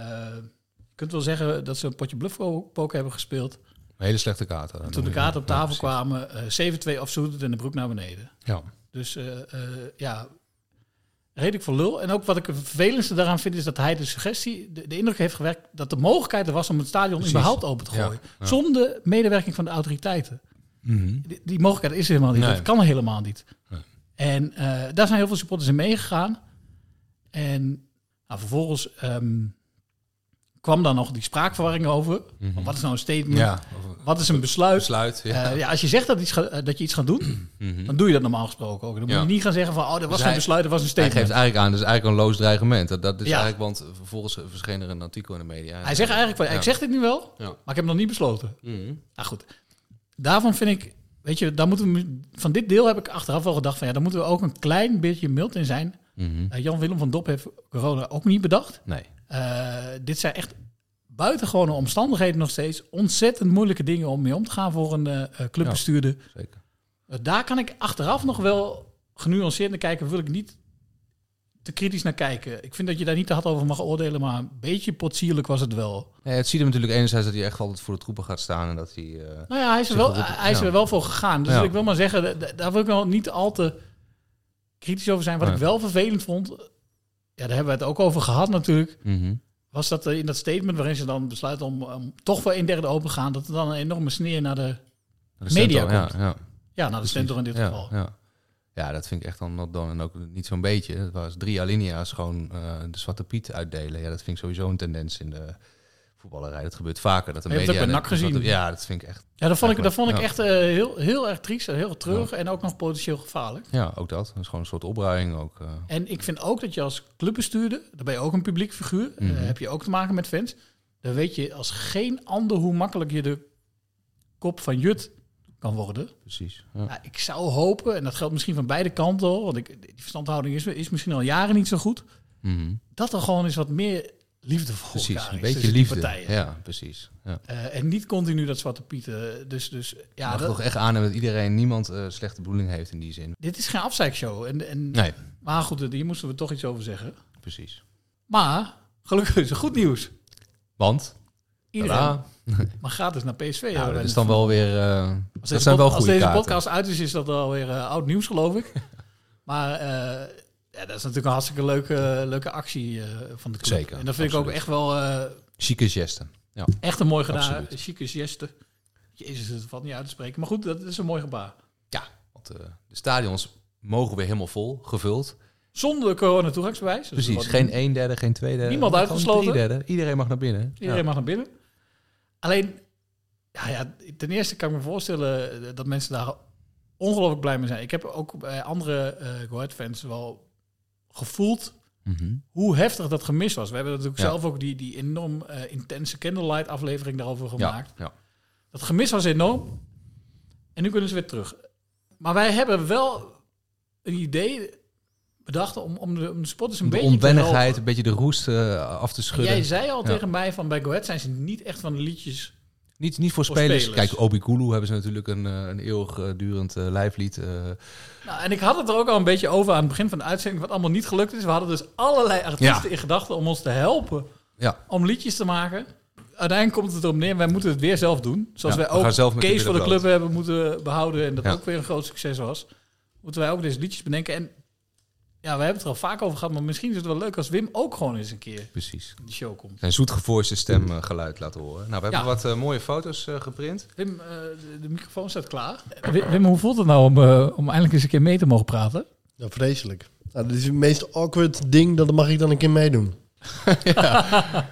[SPEAKER 2] je kunt wel zeggen dat ze een potje bluffpoker hebben gespeeld.
[SPEAKER 5] Een hele slechte kaart. eh,
[SPEAKER 2] Toen
[SPEAKER 5] noem
[SPEAKER 2] de
[SPEAKER 5] je
[SPEAKER 2] kaarten
[SPEAKER 5] dat.
[SPEAKER 2] op
[SPEAKER 5] Ja,
[SPEAKER 2] tafel
[SPEAKER 5] precies.
[SPEAKER 2] kwamen, eh 7-2 afzoet het en de broek naar beneden.
[SPEAKER 5] Ja.
[SPEAKER 2] Dus eh, eh, ja, redelijk voor lul. En ook wat ik het vervelendste daaraan vind, is dat hij de suggestie, de, de indruk heeft gewerkt dat de mogelijkheid er was om het stadion
[SPEAKER 5] Precies.
[SPEAKER 2] überhaupt open te
[SPEAKER 5] Ja,
[SPEAKER 2] gooien.
[SPEAKER 5] ja.
[SPEAKER 2] Zonder medewerking van de autoriteiten.
[SPEAKER 5] Mhm.
[SPEAKER 2] Die, die mogelijkheid is er helemaal niet.
[SPEAKER 5] Nee.
[SPEAKER 2] Dat kan helemaal niet. En eh, daar zijn heel veel supporters in meegegaan. En nou, vervolgens ehm, kwam daar nog die spraakverwarring over.
[SPEAKER 5] Mhm.
[SPEAKER 2] Van Wat is nou een statement?
[SPEAKER 5] Ja.
[SPEAKER 2] Wat is een besluit?
[SPEAKER 5] Besluit, ja.
[SPEAKER 2] Eh, ja, als je zegt dat, iets ga- eh, dat je iets gaat doen,
[SPEAKER 5] Mhm.
[SPEAKER 2] dan doe je dat normaal gesproken ook. Dan
[SPEAKER 5] Ja.
[SPEAKER 2] moet je niet gaan zeggen van, oh, dat was
[SPEAKER 5] Dus
[SPEAKER 2] geen
[SPEAKER 5] hij-
[SPEAKER 2] besluit, dat was een statement.
[SPEAKER 5] Hij geeft eigenlijk aan, dat is eigenlijk een loos dreigement. Dat, dat is
[SPEAKER 2] Ja.
[SPEAKER 5] eigenlijk, want vervolgens verscheen er een artikel in de media.
[SPEAKER 2] Hij zegt eigenlijk, van,
[SPEAKER 5] Ja.
[SPEAKER 2] ik zeg dit nu wel,
[SPEAKER 5] Ja.
[SPEAKER 2] maar ik heb nog niet besloten.
[SPEAKER 5] Mhm.
[SPEAKER 2] Nou goed, daarvan vind ik, weet je, daar moeten we, van dit deel heb ik achteraf wel gedacht van, ja, daar moeten we ook een klein beetje mild in zijn.
[SPEAKER 5] Mhm.
[SPEAKER 2] Eh, Jan-Willem van Dop heeft corona ook niet bedacht.
[SPEAKER 5] Nee.
[SPEAKER 2] Eh, dit zijn echt buitengewone omstandigheden nog steeds. Ontzettend moeilijke dingen om mee om te gaan voor een eh, eh, clubbestuurder.
[SPEAKER 5] zeker.
[SPEAKER 2] Eh, daar kan ik achteraf nog wel genuanceerd naar kijken. Wil ik niet te kritisch naar kijken. Ik vind dat je daar niet te hard over mag oordelen, maar een beetje potsierlijk was het wel.
[SPEAKER 5] Nee, het ziet hem natuurlijk enerzijds dat hij echt altijd voor de troepen gaat staan en dat hij. eh,
[SPEAKER 2] Nou ja, hij is er
[SPEAKER 5] zich
[SPEAKER 2] wel,
[SPEAKER 5] geroepen-
[SPEAKER 2] hij is
[SPEAKER 5] ja.
[SPEAKER 2] er wel voor gegaan. Dus
[SPEAKER 5] Ja.
[SPEAKER 2] ik wil maar zeggen, da- daar wil ik wel niet al te kritisch over zijn. Wat
[SPEAKER 5] Nee.
[SPEAKER 2] ik wel vervelend vond, ja, daar hebben we het ook over gehad natuurlijk.
[SPEAKER 5] Mhm.
[SPEAKER 2] Was dat eh, in dat statement waarin ze dan besluiten om, om toch voor een derde open te gaan, dat er dan een enorme sneer naar de,
[SPEAKER 5] Naar de
[SPEAKER 2] media
[SPEAKER 5] centrum,
[SPEAKER 2] komt.
[SPEAKER 5] ja, ja.
[SPEAKER 2] Ja, naar de
[SPEAKER 5] Precies.
[SPEAKER 2] stentor in dit
[SPEAKER 5] Ja,
[SPEAKER 2] geval.
[SPEAKER 5] Ja. Ja, dat vind ik echt dan not done en ook niet zo'n beetje. Het was drie alinea's gewoon eh, de Zwarte Piet uitdelen. Ja, dat vind ik sowieso een tendens in de voetballerij. Dat gebeurt vaker. Dat de
[SPEAKER 2] Je hebt
[SPEAKER 5] media...
[SPEAKER 2] het ook bij
[SPEAKER 5] en
[SPEAKER 2] NAC
[SPEAKER 5] de-
[SPEAKER 2] gezien.
[SPEAKER 5] Ja, dat vind ik echt...
[SPEAKER 2] Ja, dat vond ik, dat vond ik
[SPEAKER 5] Ja.
[SPEAKER 2] echt eh, heel, heel erg triest, en heel treurig en ook nog potentieel gevaarlijk.
[SPEAKER 5] Ja, ook dat. Dat is gewoon een soort opruiing ook. eh.
[SPEAKER 2] En ik vind ook dat je als clubbestuurder, dan ben je ook een publiek figuur, eh,
[SPEAKER 5] Mhm.
[SPEAKER 2] heb je ook te maken met fans. Dan weet je als geen ander hoe makkelijk je de kop van Jut kan worden.
[SPEAKER 5] Precies.
[SPEAKER 2] Nou, ik zou hopen, en dat geldt misschien van beide kanten, hoor, want ik, die verstandhouding is, is misschien al jaren niet zo goed,
[SPEAKER 5] Mhm.
[SPEAKER 2] dat er gewoon eens wat meer liefde voor
[SPEAKER 5] Precies,
[SPEAKER 2] elkaar
[SPEAKER 5] een
[SPEAKER 2] is
[SPEAKER 5] beetje
[SPEAKER 2] tussen die
[SPEAKER 5] liefde.
[SPEAKER 2] partijen.
[SPEAKER 5] Ja, precies. Ja.
[SPEAKER 2] Eh, en niet continu dat zwarte pieten. Dus, dus
[SPEAKER 5] Ja,
[SPEAKER 2] ja,
[SPEAKER 5] mag
[SPEAKER 2] dat,
[SPEAKER 5] toch echt aannemen dat iedereen, niemand eh, slechte bedoeling heeft in die zin.
[SPEAKER 2] dit is geen afzeikshow. En, en,
[SPEAKER 5] Nee.
[SPEAKER 2] Maar goed, eh, hier moesten we toch iets over zeggen.
[SPEAKER 5] Precies.
[SPEAKER 2] Maar gelukkig is er goed nieuws.
[SPEAKER 5] Want?
[SPEAKER 2] Iedereen
[SPEAKER 5] Tadaa.
[SPEAKER 2] mag gratis naar PSV.
[SPEAKER 5] Ja,
[SPEAKER 2] hebben
[SPEAKER 5] Nou, dat
[SPEAKER 2] we
[SPEAKER 5] is
[SPEAKER 2] net
[SPEAKER 5] dan
[SPEAKER 2] van-
[SPEAKER 5] wel weer... eh,
[SPEAKER 2] Als
[SPEAKER 5] dat
[SPEAKER 2] deze,
[SPEAKER 5] zijn wel
[SPEAKER 2] pod- als
[SPEAKER 5] goede
[SPEAKER 2] deze
[SPEAKER 5] kaarten.
[SPEAKER 2] podcast uit is, is dat alweer eh, oud nieuws, geloof ik. maar eh, ja, dat is natuurlijk een hartstikke leuke, leuke actie eh, van de club.
[SPEAKER 5] Zeker,
[SPEAKER 2] En dat vind ik ook
[SPEAKER 5] absoluut.
[SPEAKER 2] echt wel eh,
[SPEAKER 5] Chique gesten. Ja.
[SPEAKER 2] echt een mooi gedaan.
[SPEAKER 5] Absoluut.
[SPEAKER 2] Chique geste. Jezus, het valt niet uit te spreken. Maar goed, dat is een mooi gebaar.
[SPEAKER 5] Want eh, de stadions mogen weer helemaal vol, gevuld.
[SPEAKER 2] Zonder corona-toegangsbewijs. Dus
[SPEAKER 5] Precies,
[SPEAKER 2] wat-
[SPEAKER 5] geen een derde, geen twee derde.
[SPEAKER 2] Niemand
[SPEAKER 5] maar
[SPEAKER 2] uitgesloten.
[SPEAKER 5] Gewoon drie derde. Iedereen mag naar binnen.
[SPEAKER 2] Iedereen
[SPEAKER 5] Ja.
[SPEAKER 2] mag naar binnen. Alleen, ja, ja, ten eerste kan ik me voorstellen eh, dat mensen daar ongelooflijk blij mee zijn. Ik heb ook bij andere eh Go Ahead fans wel gevoeld
[SPEAKER 5] Mhm.
[SPEAKER 2] hoe heftig dat gemist was. We hebben natuurlijk
[SPEAKER 5] Ja.
[SPEAKER 2] zelf ook die, die enorm eh, intense Candlelight aflevering daarover gemaakt.
[SPEAKER 5] Ja, ja.
[SPEAKER 2] Dat gemis was enorm. En nu kunnen ze weer terug. Maar wij hebben wel een idee bedacht om, om, de, om de spotters een
[SPEAKER 5] Om de
[SPEAKER 2] beetje te helpen.
[SPEAKER 5] onwennigheid, een beetje de roest eh, af te schudden.
[SPEAKER 2] Jij zei al
[SPEAKER 5] Ja.
[SPEAKER 2] tegen mij van bij Go Ahead zijn ze niet echt van de liedjes.
[SPEAKER 5] Niet, niet voor spelers. Kijk, Obi Kulu hebben ze natuurlijk een, eh, een eeuwig eh, durend eh, lijflied. eh,
[SPEAKER 2] Nou, en ik had het er ook al een beetje over aan het begin van de uitzending, wat allemaal niet gelukt is. We hadden dus allerlei artiesten
[SPEAKER 5] Ja.
[SPEAKER 2] in gedachten om ons te helpen
[SPEAKER 5] Ja.
[SPEAKER 2] om liedjes te maken. Uiteindelijk komt het erop neer, wij moeten het weer zelf doen. Zoals
[SPEAKER 5] Ja,
[SPEAKER 2] wij
[SPEAKER 5] we gaan zelf
[SPEAKER 2] ook
[SPEAKER 5] met
[SPEAKER 2] Kees
[SPEAKER 5] Pieter
[SPEAKER 2] voor de
[SPEAKER 5] de
[SPEAKER 2] club
[SPEAKER 5] Groot.
[SPEAKER 2] hebben moeten behouden en dat
[SPEAKER 5] Ja.
[SPEAKER 2] ook weer een groot succes was. Moeten wij ook deze liedjes bedenken. En ja, we hebben het er al vaak over gehad, maar misschien is het wel leuk als Wim ook gewoon eens een keer
[SPEAKER 5] Precies.
[SPEAKER 2] in de show komt.
[SPEAKER 5] zijn zoetgevoiste stemgeluid eh, laten horen. Nou, we hebben
[SPEAKER 2] Ja.
[SPEAKER 5] wat eh, mooie foto's eh, geprint.
[SPEAKER 2] Wim, eh, de, de microfoon staat klaar. Wim, hoe voelt het nou om, eh, om eindelijk eens een keer mee te mogen praten?
[SPEAKER 12] Ja, vreselijk. Nou, dit is het meest awkward ding, dat mag ik dan een keer meedoen.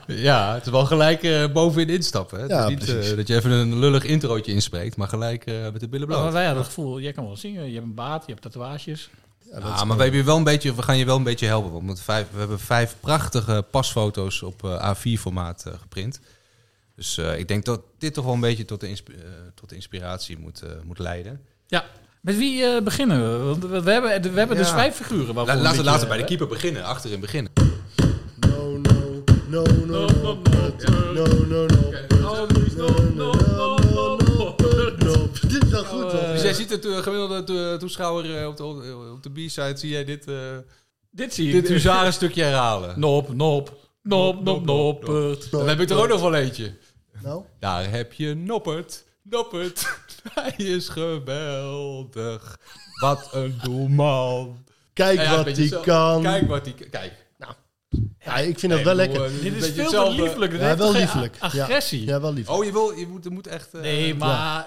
[SPEAKER 5] Ja, het is wel gelijk eh, bovenin instappen. Hè? Het
[SPEAKER 12] Ja,
[SPEAKER 5] is niet eh,
[SPEAKER 12] precies.
[SPEAKER 5] dat je even een lullig introotje inspreekt, maar gelijk eh, met de billen bloot.
[SPEAKER 2] Ja, maar Nou, wij hadden het gevoel, jij kan wel zingen, je hebt een baard, je hebt tatoeages.
[SPEAKER 5] Ja, Ah, maar we, hebben je wel een beetje, we gaan je wel een beetje helpen. Want met vijf, we hebben vijf prachtige pasfoto's op eh, A4-formaat eh, geprint. Dus eh, ik denk dat dit toch wel een beetje tot de, insp- eh, tot de inspiratie moet, eh, moet leiden.
[SPEAKER 2] Ja, met wie eh, beginnen we? Want we we hebben, we hebben dus vijf figuren.
[SPEAKER 5] La-
[SPEAKER 2] waarvoor we
[SPEAKER 5] laten
[SPEAKER 2] een
[SPEAKER 5] laten we eh, bij
[SPEAKER 2] beetje-
[SPEAKER 5] de keeper beginnen, achterin beginnen.
[SPEAKER 12] No, no, no, no, no, no, no, no, no, no, no, no, no. Dit is wel goed,
[SPEAKER 5] Dus
[SPEAKER 12] hoor.
[SPEAKER 5] jij ziet het eh, gemiddelde to- toeschouwer eh, op de, op de B-side, zie jij dit... eh,
[SPEAKER 2] Dit zie ik.
[SPEAKER 5] dit huzarenstukje herhalen.
[SPEAKER 2] Nop, nop, nop, nop, noppert.
[SPEAKER 5] Dan heb ik er ook nog wel eentje.
[SPEAKER 12] Nou?
[SPEAKER 5] Daar heb je Noppert. Noppert. Hij is geweldig. Wat een doelman.
[SPEAKER 12] Kijk
[SPEAKER 5] Nou ja,
[SPEAKER 12] wat
[SPEAKER 5] een beetje
[SPEAKER 12] die
[SPEAKER 5] zo-
[SPEAKER 12] kan.
[SPEAKER 5] Kijk wat die Kijk. Nou.
[SPEAKER 12] Ja, ik vind dat wel lekker.
[SPEAKER 2] Dit is veel te liefelijk. Dit
[SPEAKER 12] Ja,
[SPEAKER 2] heeft
[SPEAKER 12] wel
[SPEAKER 2] toch geen
[SPEAKER 12] lieflijk.
[SPEAKER 2] a- Agressie.
[SPEAKER 12] Ja, ja, wel lieflijk.
[SPEAKER 5] Oh, je, wil, je, moet, je moet echt... eh,
[SPEAKER 2] Nee, maar...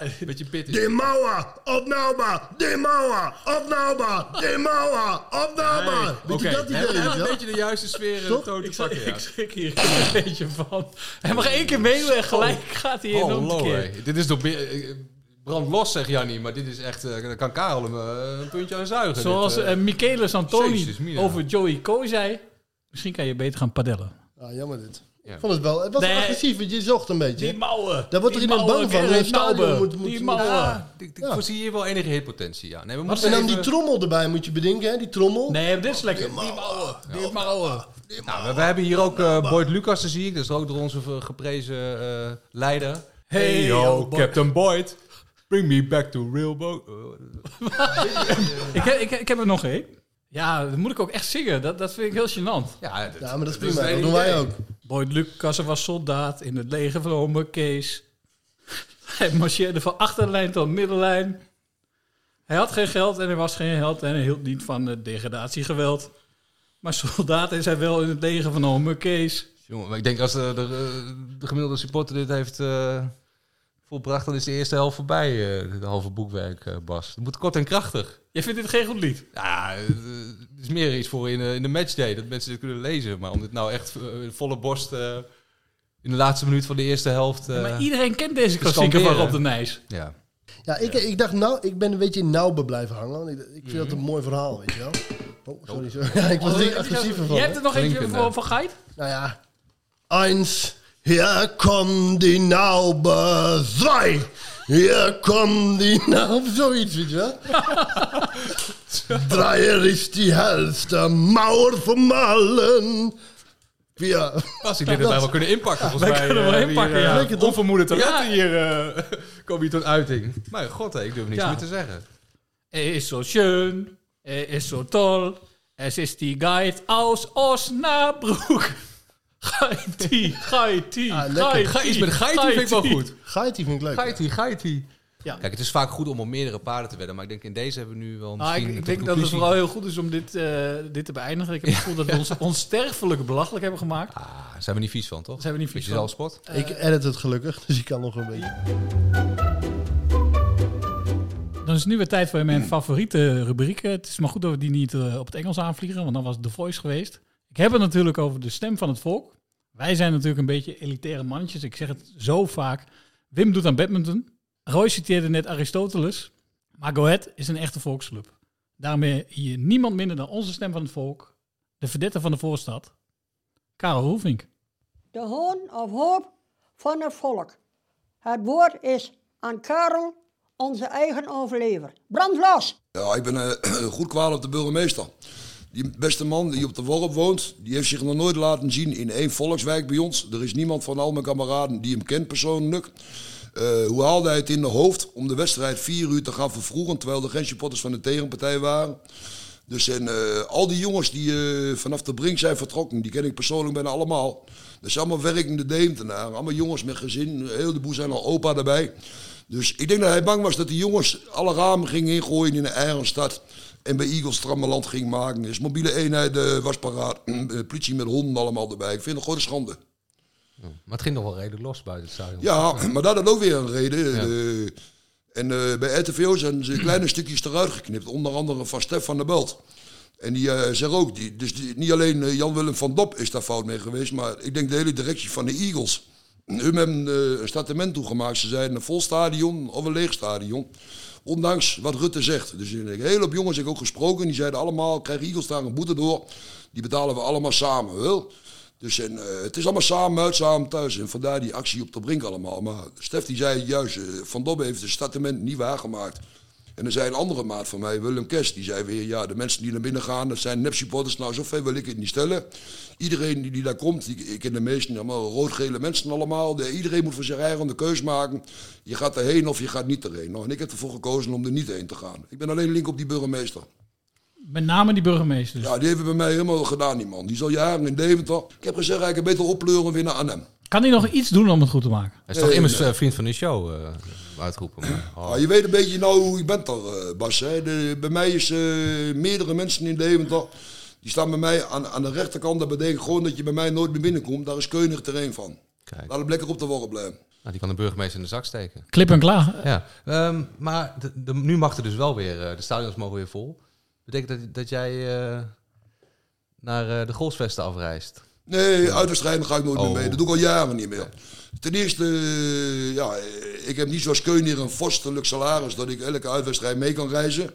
[SPEAKER 2] Een
[SPEAKER 5] beetje pittig.
[SPEAKER 12] De Mauwa, op Nauba, de Mauwa, op Nauba, de Mauwa, op Nauba.
[SPEAKER 5] Oké,
[SPEAKER 12] Weet je dat idee?
[SPEAKER 5] heb- heb
[SPEAKER 12] weet je
[SPEAKER 5] een
[SPEAKER 12] wel?
[SPEAKER 5] beetje de juiste sfeer en de toon te pakken. ja.
[SPEAKER 2] Ik schrik hier een beetje van. Hij mag één keer meedoen en gelijk gaat hij in om
[SPEAKER 5] Hallo,
[SPEAKER 2] te keer.
[SPEAKER 5] hé. Oh, Dit is door... eh, eh, Brand los, zegt Jannie, maar dit is echt... eh, Daar kan Karel hem eh, een puntje aan zuigen.
[SPEAKER 2] Zoals
[SPEAKER 5] dit,
[SPEAKER 2] eh
[SPEAKER 5] eh.
[SPEAKER 2] Michele Santoni
[SPEAKER 5] Jezus, Mina.
[SPEAKER 2] over Joey Kooi zei... Misschien kan je beter gaan padellen.
[SPEAKER 12] Ah, jammer dit.
[SPEAKER 5] Ja.
[SPEAKER 12] Ik vond het wel. Het was
[SPEAKER 2] Nee.
[SPEAKER 12] agressief, want je zocht een beetje.
[SPEAKER 2] Die mouwen.
[SPEAKER 12] Daar wordt er
[SPEAKER 2] Die
[SPEAKER 12] iemand bang
[SPEAKER 2] mouwen,
[SPEAKER 12] van.
[SPEAKER 2] Gerrit
[SPEAKER 12] Een stadion
[SPEAKER 2] Mouwen.
[SPEAKER 12] moet, Ah. moet,
[SPEAKER 2] Die
[SPEAKER 12] moet-
[SPEAKER 2] mouwen.
[SPEAKER 12] Ja.
[SPEAKER 5] Ik, ik voorzie hier wel enige hitpotentie, ja. Nee, we
[SPEAKER 12] En
[SPEAKER 5] moeten
[SPEAKER 12] dan die
[SPEAKER 5] even-
[SPEAKER 12] trommel erbij moet je bedenken, hè? Die trommel.
[SPEAKER 2] Nee, maar dit is lekker. Die mouwen. Die mouwen.
[SPEAKER 5] Nou, we, we hebben hier ook eh Boyd Lucas te zien. Dat is ook door onze eh, geprezen eh, leider.
[SPEAKER 2] Hey, yo, Boyd.
[SPEAKER 5] Captain Boyd. Bring me back to real boat. Oh,
[SPEAKER 2] Ik, heb- ik, heb- ik heb er nog één. Ja, dat moet ik ook echt zingen. Dat, dat vind ik heel gênant.
[SPEAKER 5] Ja,
[SPEAKER 12] Ja, maar dat is prima. Dat doen wij ook.
[SPEAKER 2] Boyd Lucas was soldaat in het leger van Ome Kees. Hij marcheerde van achterlijn tot middenlijn. Hij had geen geld en hij was geen held en hij hield niet van het degradatiegeweld. Maar soldaat is hij wel in het leger van Ome Kees.
[SPEAKER 5] eh, Jongen, maar ik denk als de, de, de gemiddelde supporter dit heeft eh, volbracht, dan is de eerste helft voorbij, eh, het halve boekwerk, eh, Bas. Het moet kort en krachtig.
[SPEAKER 2] Jij vindt dit geen goed lied?
[SPEAKER 5] Ja, eh, het is meer iets voor in, eh, in de matchday, dat mensen dit kunnen lezen. Maar om dit nou echt eh, volle borst eh, in de laatste minuut van de eerste helft... eh,
[SPEAKER 2] maar iedereen kent deze
[SPEAKER 5] te
[SPEAKER 2] klassieker van
[SPEAKER 5] scanderen.
[SPEAKER 2] Rob de Nijs.
[SPEAKER 5] Ja.
[SPEAKER 12] Ja, ik, ik dacht nou, ik ben een beetje in Nauwbe blijven hangen. Want ik, ik vind dat een mooi verhaal, weet je wel. Oh, sorry. sorry. Ja, ik was
[SPEAKER 2] Oh,
[SPEAKER 12] niet
[SPEAKER 2] heb je
[SPEAKER 12] agressief
[SPEAKER 2] dat-
[SPEAKER 12] ervan.
[SPEAKER 2] Jij hebt er nog eentje voor, voor Geit?
[SPEAKER 12] Nou ja. Eins, hier komt die Naube. Zwei, hier komt die Naube. Zoiets, weet je wel. Dreier is die helste Mauer van allen. Ja.
[SPEAKER 5] Bas, ik
[SPEAKER 2] Nou,
[SPEAKER 5] denk dat wij wel kunnen inpakken, volgens mij.
[SPEAKER 12] Wij kunnen
[SPEAKER 5] eh,
[SPEAKER 12] wel
[SPEAKER 5] hebben
[SPEAKER 12] inpakken,
[SPEAKER 5] hier, eh,
[SPEAKER 12] ja. Lekker, toch?
[SPEAKER 5] Onvermoeden talenten
[SPEAKER 12] Ja.
[SPEAKER 5] hier eh, komen hier tot uiting. Mijn god, hè, ik durf niks
[SPEAKER 2] Ja.
[SPEAKER 5] meer te zeggen.
[SPEAKER 2] Er is zo schön, er is zo toll. Es ist die Guide aus Osnabrück. Geitie, geitie,
[SPEAKER 12] Ah, lekker.
[SPEAKER 2] geitie.
[SPEAKER 5] Ga, iets met geitie vind ik wel goed.
[SPEAKER 12] Geitie vind ik leuk.
[SPEAKER 5] Geitie, geitie.
[SPEAKER 2] Ja.
[SPEAKER 5] Kijk, het is vaak goed om op meerdere paarden te wedden, maar ik denk in deze hebben we nu wel
[SPEAKER 2] Nou,
[SPEAKER 5] misschien...
[SPEAKER 2] ik, ik
[SPEAKER 5] tot
[SPEAKER 2] denk dat het
[SPEAKER 5] conclusie-
[SPEAKER 2] vooral heel goed is om dit, eh, dit te beëindigen. Ik heb het gevoel dat we ons onsterfelijk belachelijk hebben gemaakt.
[SPEAKER 5] Ah, Daar zijn we niet vies van, toch?
[SPEAKER 2] Zijn we niet vies
[SPEAKER 5] Beetje
[SPEAKER 2] van.
[SPEAKER 5] zelfspot?
[SPEAKER 2] Eh,
[SPEAKER 12] Ik edit het gelukkig, dus ik kan nog een beetje.
[SPEAKER 2] Dan is het nu weer tijd voor mijn favoriete rubrieken. Het is maar goed dat we die niet eh, op het Engels aanvliegen, want dan was het The Voice geweest. Ik heb het natuurlijk over de stem van het volk. Wij zijn natuurlijk een beetje elitaire mannetjes. Ik zeg het zo vaak. Wim doet aan badminton. Roy citeerde net Aristoteles. Maar Go Ahead is een echte volksclub. Daarmee hier niemand minder dan onze stem van het volk. De verdette van de voorstad. Karel Roelvink.
[SPEAKER 4] De hoon of hoop van het volk. Het woord is aan Karel, onze eigen overlever. Brand los!
[SPEAKER 13] Ja, ik ben eh, goed kwaad op de burgemeester. Die beste man die op de Worp woont, die heeft zich nog nooit laten zien in één volkswijk bij ons. Er is niemand van al mijn kameraden die hem kent persoonlijk. Eh, hoe haalde hij het in de hoofd om de wedstrijd vier uur te gaan vervroegen, terwijl er geen supporters van de tegenpartij waren? Dus en, eh, al die jongens die eh, vanaf de brink zijn vertrokken, die ken ik persoonlijk bijna allemaal. Dat zijn allemaal werkende Deemtenaren, allemaal jongens met gezin, een heleboel zijn al opa erbij. Dus ik denk dat hij bang was dat die jongens alle ramen gingen ingooien in de eigen stad. En bij Eagles Trammeland ging maken. Dus mobiele eenheid eh, was paraat. Eh, Politie met honden allemaal erbij. Ik vind het gewoon een schande.
[SPEAKER 5] Maar het ging nog wel redelijk los buiten het stadion.
[SPEAKER 13] Ja, maar daar had ook weer een reden. Eh, en eh, bij RTVO zijn ze kleine stukjes eruit geknipt. Onder andere van Stefan de Belt. En die eh zegt ook, die, dus die- niet alleen eh, Jan-Willem van Dop is daar fout mee geweest, maar ik denk de hele directie van de Eagles. Hun hebben eh, een statement toegemaakt. Ze zeiden een vol stadion of een leeg stadion. Ondanks wat Rutte zegt. Dus een hele hoop jongens heb ik ook gesproken. Die zeiden allemaal, krijgen Eagles daar een boete door. Die betalen we allemaal samen. Wel? Dus en, eh, het is allemaal samen uit, samen thuis. En vandaar die actie op de brink allemaal. Maar Stef die zei juist, eh, Van Dobbe heeft het statement niet waargemaakt. En er zei een andere maat van mij, Willem Kest, die zei weer... ja, de mensen die naar binnen gaan, dat zijn nep-supporters. Nou, zoveel wil ik het niet stellen. Iedereen die, die daar komt, die, ik ken de meesten allemaal rood-gele mensen allemaal. De- iedereen moet voor zijn eigen de keus maken. Je gaat erheen of je gaat niet erheen. Nou, en ik heb ervoor gekozen om er niet heen te gaan. Ik ben alleen link op die burgemeester.
[SPEAKER 2] Met name die burgemeester.
[SPEAKER 13] Ja, die heeft het bij mij helemaal gedaan, die man. Die is al jaren in Deventer. Ik heb gezegd, hij kan beter opleuren weer naar Arnhem.
[SPEAKER 2] Kan hij nog iets doen om het goed te maken?
[SPEAKER 5] Hij is toch
[SPEAKER 13] Nee,
[SPEAKER 5] immers
[SPEAKER 13] nee.
[SPEAKER 5] eh, vriend van de show eh, uitgeroepen. maar- oh.
[SPEAKER 13] Ah, Ja, je weet een beetje nou hoe ik ben toch, eh, Bas. Hè? De- bij mij is eh, meerdere mensen in Deventer. Die staan bij mij aan, aan de rechterkant. Dat betekent gewoon dat je bij mij nooit meer binnenkomt. Daar is Keunig terrein van. Laat hem lekker op de worp blijven.
[SPEAKER 5] Nou, die kan de burgemeester in de zak steken.
[SPEAKER 2] Klip en klaar.
[SPEAKER 5] Ja, ehm, maar de, de- nu mag er dus wel weer, eh, de stadions mogen weer vol. Betekent dat, dat jij eh, naar eh, de golfsvesten afreist?
[SPEAKER 13] Nee, uit de strijden ga ik nooit
[SPEAKER 5] Oh.
[SPEAKER 13] meer mee. Dat doe ik al jaren niet meer. Ten eerste, eh, ja, eh, ik heb niet zoals Keunig een vorstelijk salaris dat ik elke uitwedstrijd mee kan reizen.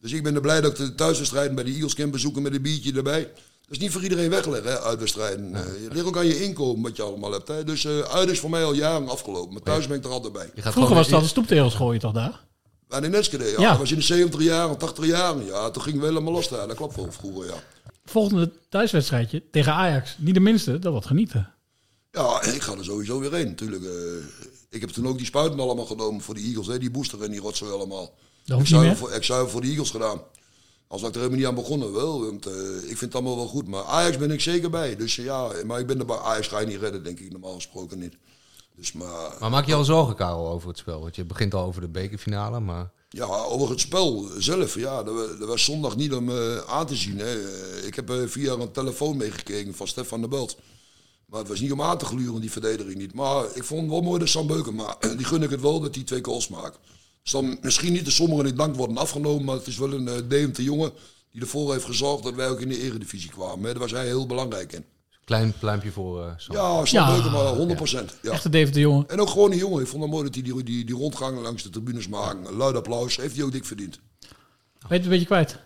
[SPEAKER 13] Dus ik ben er blij dat ik de thuiswedstrijden bij de Eagles kan bezoeken met een biertje erbij. Dat is niet voor iedereen wegleggen, hè, uitwedstrijden. Eh, Het ligt ook aan je inkomen wat je allemaal hebt. Hè. Dus eh, uit is voor mij al jaren afgelopen, maar thuis ben ik er altijd bij.
[SPEAKER 2] Vroeger was dat een stoeptegels gooien toch daar?
[SPEAKER 13] En in Enschede, ja.
[SPEAKER 2] Ja.
[SPEAKER 13] Dat was in de 70 jaren, 80 jaren. Ja, toen gingen we helemaal los daar. Dat klopt wel vroeger, ja.
[SPEAKER 2] Volgende thuiswedstrijdje tegen Ajax. Niet de minste, dat wordt genieten.
[SPEAKER 13] Ja, ik ga er sowieso weer heen, natuurlijk. eh. ik heb toen ook die spuiten allemaal genomen voor de Eagles, hè, die booster en die rotzooi allemaal.
[SPEAKER 2] hoeft
[SPEAKER 13] Ik
[SPEAKER 2] niet
[SPEAKER 13] zou
[SPEAKER 2] meer.
[SPEAKER 13] voor, ik zou voor de Eagles gedaan. Als ik er helemaal niet aan begonnen wel, want eh, ik vind het allemaal wel goed. Maar Ajax ben ik zeker bij, dus eh, ja, maar ik ben er bij Ajax ga je niet redden, denk ik normaal gesproken niet. Dus maar,
[SPEAKER 5] Maar maak je al zorgen, Karel, over het spel? Want je begint al over de bekerfinale, maar...
[SPEAKER 13] Ja, over het spel zelf. Ja, dat, wa- dat was zondag niet om eh, aan te zien. Hè. Eh, Ik heb eh, via een telefoon meegekeken van Stefan de Belt. Maar het was niet om aan te gluren, die verdediging niet. Maar ik vond het wel mooi dat Sam Beukema, die gun ik het wel, dat hij twee goals maakt. Dus dan misschien niet de sommigen in dank worden afgenomen, maar het is wel een eh deemte jongen die ervoor heeft gezorgd dat wij ook in de eredivisie kwamen. Hè. Daar was hij heel belangrijk in.
[SPEAKER 5] Klein pluimpje voor eh, Sam.
[SPEAKER 13] Ja, Sam Beukema, 100 procent. Ja.
[SPEAKER 2] Echte David de Jonge.
[SPEAKER 13] En ook gewoon een jongen. Ik vond het mooi dat hij die, die, die rondgang langs de tribunes maakt. Luid applaus. Heeft hij ook dik verdiend.
[SPEAKER 2] Weet je het een beetje kwijt?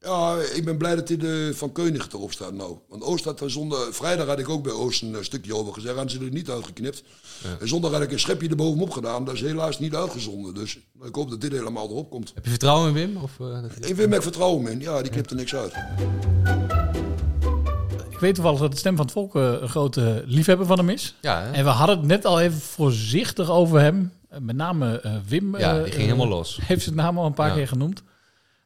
[SPEAKER 13] Ja, ik ben blij dat hij de Van Keunig erop staat nou. Want Oost had er zondag... Vrijdag had ik ook bij Oost een eh, stukje over gezegd. Hadden ze er niet uitgeknipt. En zondag had ik een schepje erbovenop gedaan. Dat is helaas niet uitgezonden. Dus ik hoop dat dit helemaal erop komt.
[SPEAKER 5] Heb je vertrouwen in Wim? Of, eh, dat-
[SPEAKER 13] Ik Wim heb ik vertrouwen in. Ja, die knipt er niks uit.
[SPEAKER 2] Ik weet toevallig dat de stem van het volk eh, een grote liefhebber van hem is.
[SPEAKER 5] Ja, hè?
[SPEAKER 2] En we hadden het net al even voorzichtig over hem. Eh, Met name eh, Wim.
[SPEAKER 5] Ja,
[SPEAKER 2] eh,
[SPEAKER 5] die ging
[SPEAKER 2] eh,
[SPEAKER 5] helemaal los.
[SPEAKER 2] Heeft zijn naam al een paar
[SPEAKER 5] Ja.
[SPEAKER 2] keer genoemd.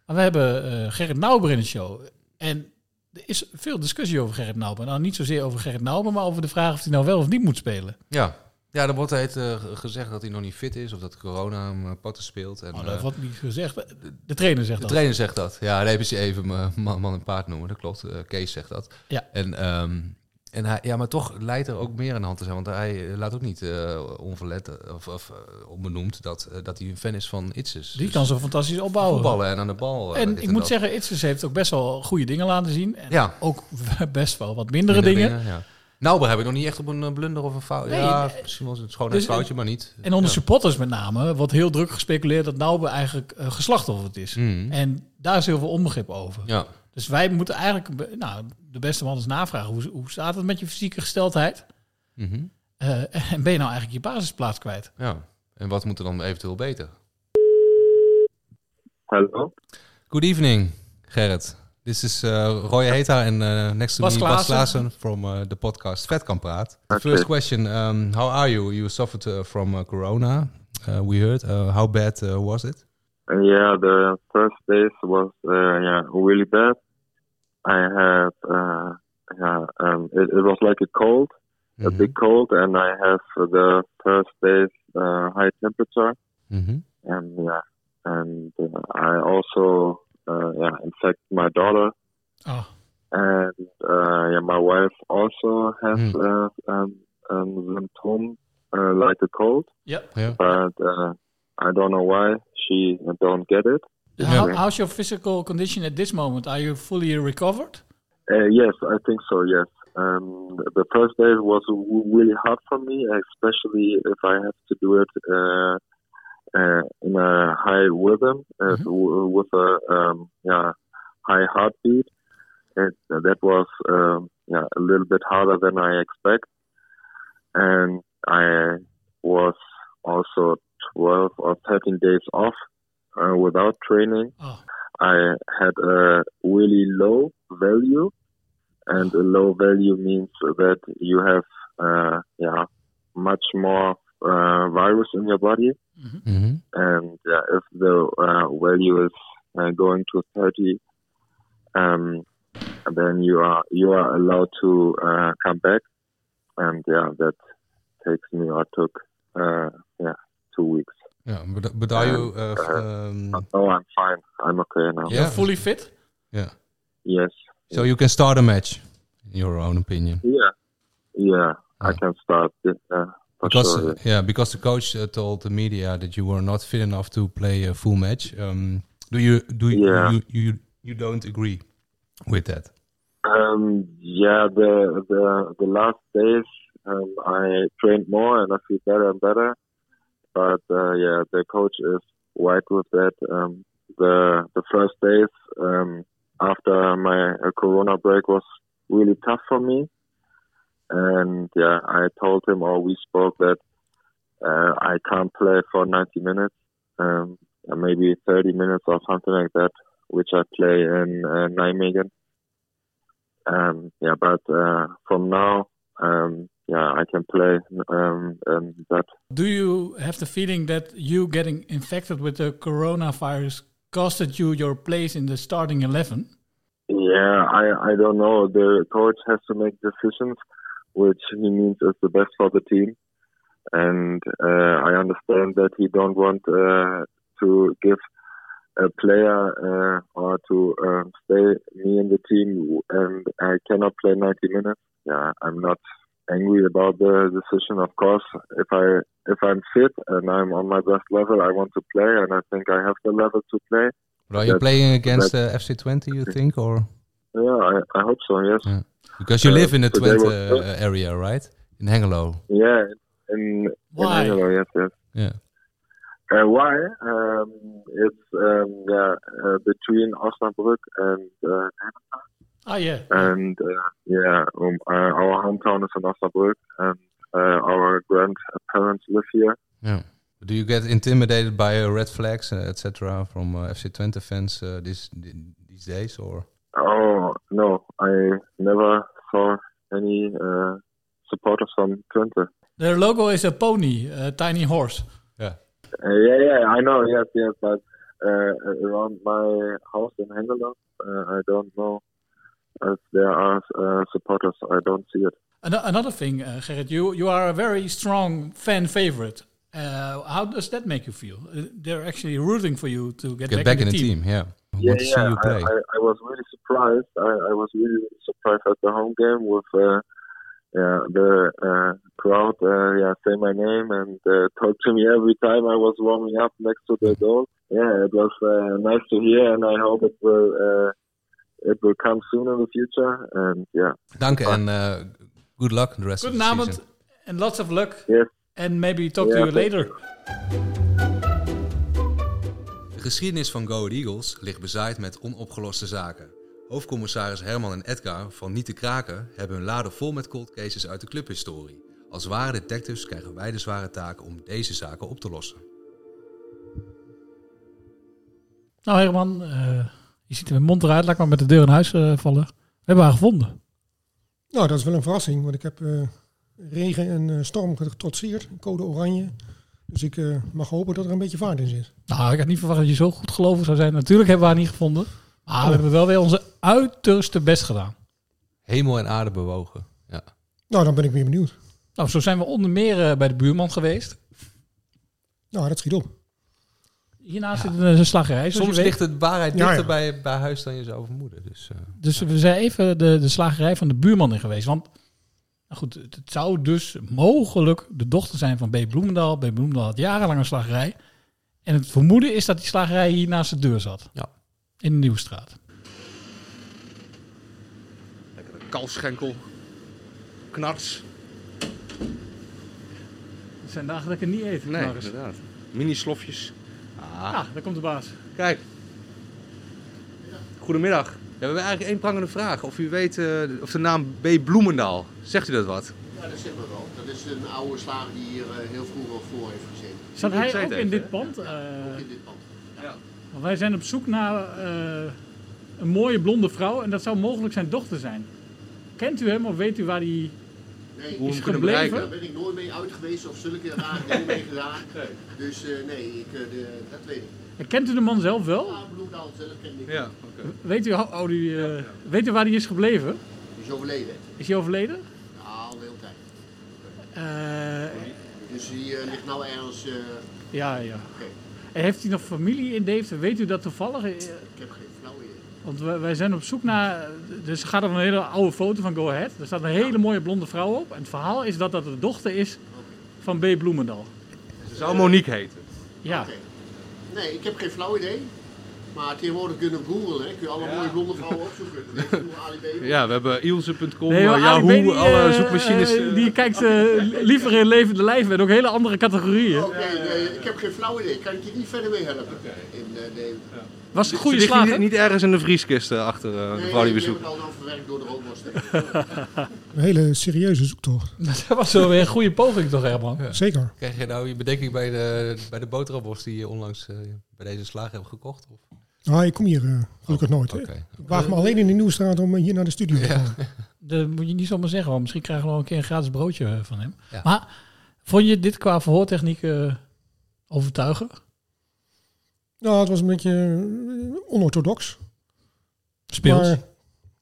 [SPEAKER 2] Maar we hebben eh, Gerrit Nauber in de show. En er is veel discussie over Gerrit Nauber. Nou, niet zozeer over Gerrit Nauber, maar over de vraag of hij nou wel of niet moet spelen.
[SPEAKER 5] Ja. Ja, dan wordt het gezegd dat hij nog niet fit is of dat corona hem eh, potten speelt. En,
[SPEAKER 2] Nou, dat
[SPEAKER 5] eh,
[SPEAKER 2] wordt niet gezegd. De trainer zegt
[SPEAKER 5] de
[SPEAKER 2] dat.
[SPEAKER 5] trainer zegt dat. Ja, nee, precies even mijn man, man en paard noemen. Dat klopt. Eh, Kees zegt dat.
[SPEAKER 2] Ja.
[SPEAKER 5] En, ehm, en hij, ja, maar toch lijkt er ook meer aan de hand te zijn. Want hij eh, laat ook niet eh, onverlet eh, of, of eh, onbenoemd dat, eh, dat hij een fan is van Itzes.
[SPEAKER 2] Die kan zo fantastisch opbouwen.
[SPEAKER 5] Voetballen en aan de bal. eh,
[SPEAKER 2] en
[SPEAKER 5] dit
[SPEAKER 2] ik moet
[SPEAKER 5] dat.
[SPEAKER 2] zeggen, Itzes heeft ook best wel goede dingen laten zien. En
[SPEAKER 5] Ja.
[SPEAKER 2] ook best wel wat mindere,
[SPEAKER 5] Minder
[SPEAKER 2] dingen.
[SPEAKER 5] ja. Nauber heb ik nog niet echt op een eh, blunder of een fout.
[SPEAKER 2] Nee,
[SPEAKER 5] ja,
[SPEAKER 2] eh,
[SPEAKER 5] misschien was het gewoon een
[SPEAKER 2] Dus, eh,
[SPEAKER 5] foutje, maar niet.
[SPEAKER 2] En onder
[SPEAKER 5] Ja.
[SPEAKER 2] supporters met name wordt heel druk gespeculeerd dat Nauber eigenlijk eh, geslachtofferd is.
[SPEAKER 5] Mhm.
[SPEAKER 2] En daar is heel veel onbegrip over.
[SPEAKER 5] Ja.
[SPEAKER 2] Dus wij moeten eigenlijk be- nou, de beste man eens navragen. Hoe, hoe staat het met je fysieke gesteldheid?
[SPEAKER 5] Mhm.
[SPEAKER 2] Eh, en ben je nou eigenlijk je basisplaats kwijt?
[SPEAKER 5] Ja, en wat moet er dan eventueel beter?
[SPEAKER 14] Hallo?
[SPEAKER 5] Good evening, Gerrit. This is uh, Roy Heta and uh, next to
[SPEAKER 2] Bas
[SPEAKER 5] me Bas
[SPEAKER 2] Klaassen.
[SPEAKER 5] Klaassen from uh, the podcast Vet Kan Praat. The
[SPEAKER 14] Okay.
[SPEAKER 5] first question, um, how are you? You suffered uh, from uh, corona, uh, we heard. Uh, how bad uh, was it?
[SPEAKER 14] Uh, yeah, the first days was uh, yeah really bad. I had uh, yeah, um, it, it was like a cold, a
[SPEAKER 5] Mm-hmm.
[SPEAKER 14] big cold, and I have uh, the first days uh, high temperature,
[SPEAKER 5] Mm-hmm.
[SPEAKER 14] and yeah, and uh, I also uh, yeah infect my daughter,
[SPEAKER 2] Oh.
[SPEAKER 14] and uh, yeah, my wife also has
[SPEAKER 5] Mm-hmm.
[SPEAKER 14] uh, um, um, symptom uh, like a cold.
[SPEAKER 2] Yep.
[SPEAKER 5] Yeah.
[SPEAKER 14] But uh, I don't know why she don't get it.
[SPEAKER 2] How, how's your physical condition at this moment? Are you fully recovered?
[SPEAKER 14] Uh, yes, I think so. Yes, um, the first day was w- really hard for me, especially if I have to do it uh, uh, in a high rhythm uh, w- with a um, yeah, high heartbeat. It, that was um, yeah, a little bit harder than I expect, and I was also twelve or thirteen days off uh, without training. I had a really low value, and a low value means that you have uh, yeah much more uh, virus in your body,
[SPEAKER 5] Mm-hmm.
[SPEAKER 14] and uh, if the uh, value is uh, going to thirty, um, then you are you are allowed to uh, come back, and yeah, that takes me or took uh, yeah two weeks.
[SPEAKER 5] Yeah, but, but are you... Uh,
[SPEAKER 14] And,
[SPEAKER 5] f- um,
[SPEAKER 14] oh, I'm fine. I'm okay now.
[SPEAKER 5] Yeah. You're
[SPEAKER 2] Fully fit?
[SPEAKER 5] yeah.
[SPEAKER 14] Yes.
[SPEAKER 5] So you can start a match, in your own opinion.
[SPEAKER 14] Yeah, yeah, I can start. Yeah, for
[SPEAKER 5] Because
[SPEAKER 14] sure.
[SPEAKER 5] uh, yeah, because the coach uh, told the media that you were not fit enough to play a full match. Um, do you do you,
[SPEAKER 14] Yeah.
[SPEAKER 5] you, you you don't agree with that?
[SPEAKER 14] Um, yeah, the the the last days um, I trained more and I feel better and better. But uh, yeah, the coach is right with that. Um, the the first days um, after my uh, Corona break was really tough for me, and yeah, I told him or we spoke that uh, I can't play for 90 minutes, um, and maybe 30 minutes or something like that, which I play in uh, Nijmegen um, yeah, but uh, from now, um, yeah, I can play um, um, that.
[SPEAKER 2] Do you have the feeling that you getting infected with the coronavirus costed you your place in the starting 11?
[SPEAKER 14] Yeah, I, I don't know. The coach has to make decisions, which he means is the best for the team, and uh, I understand that he don't want uh, to give a player uh, or to um, stay me in the team, and I cannot play 90 minutes. Yeah, I'm not angry about the decision. Of course, if I if I'm fit and I'm on my best level, I want to play, and I think I have the level to play.
[SPEAKER 5] But are you
[SPEAKER 14] That-
[SPEAKER 5] playing against
[SPEAKER 14] that-
[SPEAKER 5] uh, FC Twenty? You think or
[SPEAKER 14] yeah, I, I hope so. Yes.
[SPEAKER 5] because you
[SPEAKER 14] Uh,
[SPEAKER 5] live in the
[SPEAKER 14] so they
[SPEAKER 5] Twente
[SPEAKER 14] were-
[SPEAKER 5] uh, area, right? In Hengelo.
[SPEAKER 14] Yeah, in, in
[SPEAKER 5] Why?
[SPEAKER 14] Hengelo, yes, yes.
[SPEAKER 5] Yeah.
[SPEAKER 14] Uh, why? Um, it's um, yeah, uh, between Osnabrück and uh,
[SPEAKER 2] Ah, yeah.
[SPEAKER 14] and uh, yeah, um, uh, our hometown is in Osnabrück, and uh, our grandparents live here.
[SPEAKER 5] Yeah. Do you get intimidated by uh, red flags, uh, etc., from uh, FC Twente fans uh, these these days, or?
[SPEAKER 14] Oh no, I never saw any uh, supporters from Twente.
[SPEAKER 2] Their logo is a pony, a tiny horse.
[SPEAKER 14] Uh, yeah, yeah, I know. Yes, yes, but uh, around my house in Hengelo, uh, I don't know if there are uh, supporters. I don't see it.
[SPEAKER 2] Ano- another thing, uh, Gerrit, you, you are a very strong fan favorite. Uh, how does that make you feel? Uh, they're actually rooting for you to get,
[SPEAKER 5] Get
[SPEAKER 2] back,
[SPEAKER 5] back
[SPEAKER 2] in the
[SPEAKER 5] in the
[SPEAKER 2] team.
[SPEAKER 5] team, yeah.
[SPEAKER 14] yeah,
[SPEAKER 5] want to see
[SPEAKER 14] yeah.
[SPEAKER 5] you
[SPEAKER 14] I,
[SPEAKER 5] play.
[SPEAKER 14] I, I was really surprised. I, I was really, really surprised at the home game with uh, yeah, the uh, crowd. Uh, yeah, say my name and uh, talk to me every time I was warming up next to
[SPEAKER 5] Mm.
[SPEAKER 14] the goal. Yeah, it was uh, nice to hear, and I hope it will uh, it will come soon in the future. And yeah,
[SPEAKER 5] Dank en uh, good luck the rest of the
[SPEAKER 2] Goedenavond
[SPEAKER 5] season.
[SPEAKER 2] and lots of luck.
[SPEAKER 14] Yes.
[SPEAKER 2] And maybe talk
[SPEAKER 5] Ja,
[SPEAKER 2] to you
[SPEAKER 5] tot-
[SPEAKER 2] later.
[SPEAKER 5] De geschiedenis van Go Ahead Eagles ligt bezaaid met onopgeloste zaken. Hoofdcommissaris Herman en Edgar van Niet te Kraken hebben hun laden vol met cold cases uit de clubhistorie. Als ware detectives krijgen wij de zware taak om deze zaken op te lossen.
[SPEAKER 2] Nou Herman, eh, je ziet mijn mond eruit. Laat ik maar met de deur in huis eh, vallen. We hebben haar gevonden.
[SPEAKER 12] Nou, dat is wel een verrassing, want ik heb eh, regen en eh, storm getrotseerd, code oranje. Dus ik eh, mag hopen dat er een beetje vaart in zit.
[SPEAKER 2] Nou, ik had niet verwacht dat je zo goed geloven zou zijn. Natuurlijk hebben we haar niet gevonden. Maar we hebben wel weer onze uiterste best gedaan.
[SPEAKER 5] Hemel en aarde bewogen. Ja.
[SPEAKER 12] Nou, dan ben ik weer benieuwd.
[SPEAKER 2] Nou, zo zijn we onder meer eh, bij de buurman geweest.
[SPEAKER 12] Nou, dat schiet op.
[SPEAKER 2] Hiernaast zit dus een, een slagerij. zoals
[SPEAKER 12] Dus
[SPEAKER 5] Soms
[SPEAKER 2] je weet.
[SPEAKER 5] ligt de waarheid
[SPEAKER 2] Ja,
[SPEAKER 5] dichter
[SPEAKER 2] ja.
[SPEAKER 5] Bij, bij huis dan je zou vermoeden. Dus, eh,
[SPEAKER 2] Dus we zijn even de, de slagerij van de buurman in geweest. Want nou goed, het, het zou dus mogelijk de dochter zijn van B. Bloemendaal. B. Bloemendaal had jarenlang een slagerij. En het vermoeden is dat die slagerij hier naast de deur zat.
[SPEAKER 5] Ja.
[SPEAKER 2] In de Nieuwstraat.
[SPEAKER 15] Lekkere kalfschenkel. Knarts.
[SPEAKER 2] Het zijn dagen dat ik het niet eet.
[SPEAKER 15] Nee, inderdaad. Mini-slofjes. Ah.
[SPEAKER 2] Ah, daar komt de baas.
[SPEAKER 15] Kijk. Goedemiddag. Ja, we hebben eigenlijk één prangende vraag. Of u weet eh, of de naam B. Bloemendaal, zegt u dat wat?
[SPEAKER 9] Ja, dat zegt me wel. Dat is een oude slager die hier eh, heel vroeger voor heeft gezeten.
[SPEAKER 2] Zat
[SPEAKER 15] Ik zei
[SPEAKER 2] hij
[SPEAKER 15] het
[SPEAKER 2] ook in
[SPEAKER 15] even,
[SPEAKER 2] dit
[SPEAKER 15] hè?
[SPEAKER 2] pand?
[SPEAKER 9] Ook
[SPEAKER 2] Eh,
[SPEAKER 9] in dit pand. Ja.
[SPEAKER 2] want wij zijn op zoek naar eh, een mooie blonde vrouw. En dat zou mogelijk zijn dochter zijn. Kent u hem of weet u waar hij
[SPEAKER 9] Nee,
[SPEAKER 2] is
[SPEAKER 9] daar
[SPEAKER 2] gebleven?
[SPEAKER 9] ben ik nooit mee uit geweest of zulke rare dingen mee gedaan. Dus eh, nee, ik, eh, de- dat weet ik.
[SPEAKER 2] En eh, Kent u de man zelf wel?
[SPEAKER 9] Ja, Bloemendaal zelf ken ik.
[SPEAKER 15] Ja,
[SPEAKER 2] Weet u, hoe oud hij, eh, weet u waar hij is gebleven?
[SPEAKER 9] Die is overleden.
[SPEAKER 2] Is hij overleden?
[SPEAKER 9] Ja, al de hele tijd.
[SPEAKER 2] Eh,
[SPEAKER 9] Dus die eh, ligt nou ergens. eh,
[SPEAKER 2] ja, ja.
[SPEAKER 9] Oké.
[SPEAKER 2] En heeft hij nog familie in Deventer? Weet u dat toevallig? Eh,
[SPEAKER 9] Ik heb geen flauw idee.
[SPEAKER 2] Want wij, wij zijn op zoek naar... Dus ze gaat op een hele oude foto van Go Ahead. Er staat een hele mooie blonde vrouw op. En het verhaal is dat dat de dochter is van B. Bloemendal.
[SPEAKER 15] Ze zou Monique heten.
[SPEAKER 2] Ja.
[SPEAKER 9] Nee, ik heb geen flauw idee. Maar tegenwoordig kunnen we googlen, hè. Kun je alle mooie blonde vrouwen opzoeken. Dan weet je hoe Ali B was.
[SPEAKER 15] Ja, we hebben Ilse.com,
[SPEAKER 2] Nee, maar
[SPEAKER 15] eh,
[SPEAKER 2] Ali
[SPEAKER 15] Yahoo,
[SPEAKER 2] B, die,
[SPEAKER 15] alle
[SPEAKER 2] eh,
[SPEAKER 15] zoekmachines.
[SPEAKER 2] eh, die kijkt eh, liever in levende lijven en ook hele andere categorieën.
[SPEAKER 9] Oké, nee, ik heb geen flauw idee. Kan ik je niet verder mee helpen? In, eh, de-
[SPEAKER 2] Was het een goede
[SPEAKER 15] Ze ligt
[SPEAKER 2] slag,
[SPEAKER 15] Niet, niet ergens in de vrieskisten achter eh, de
[SPEAKER 9] Nee,
[SPEAKER 15] vrouw die we
[SPEAKER 9] nee, die
[SPEAKER 15] zoeken.
[SPEAKER 9] hebben we al dan verwerkt door de rookworst.
[SPEAKER 12] Een hele serieuze zoektocht.
[SPEAKER 2] Dat was wel weer een goede poging toch, Herman?
[SPEAKER 12] Zeker.
[SPEAKER 5] Krijg je nou je bedenking bij de, bij de boterhamworst die je onlangs eh, bij deze slager hebt gekocht? Of? Oh,
[SPEAKER 12] Ah, ik kom hier eh, gelukkig nooit. hè. Ik waag me alleen in de Nieuwstraat om eh, hier naar de studio te komen.
[SPEAKER 2] Dat moet je niet zomaar zeggen, want misschien krijgen we nog een keer een gratis broodje eh, van hem. Maar vond je dit qua verhoortechniek eh overtuigen?
[SPEAKER 12] Nou, het was een beetje eh, onorthodox.
[SPEAKER 2] Speels.
[SPEAKER 12] Maar,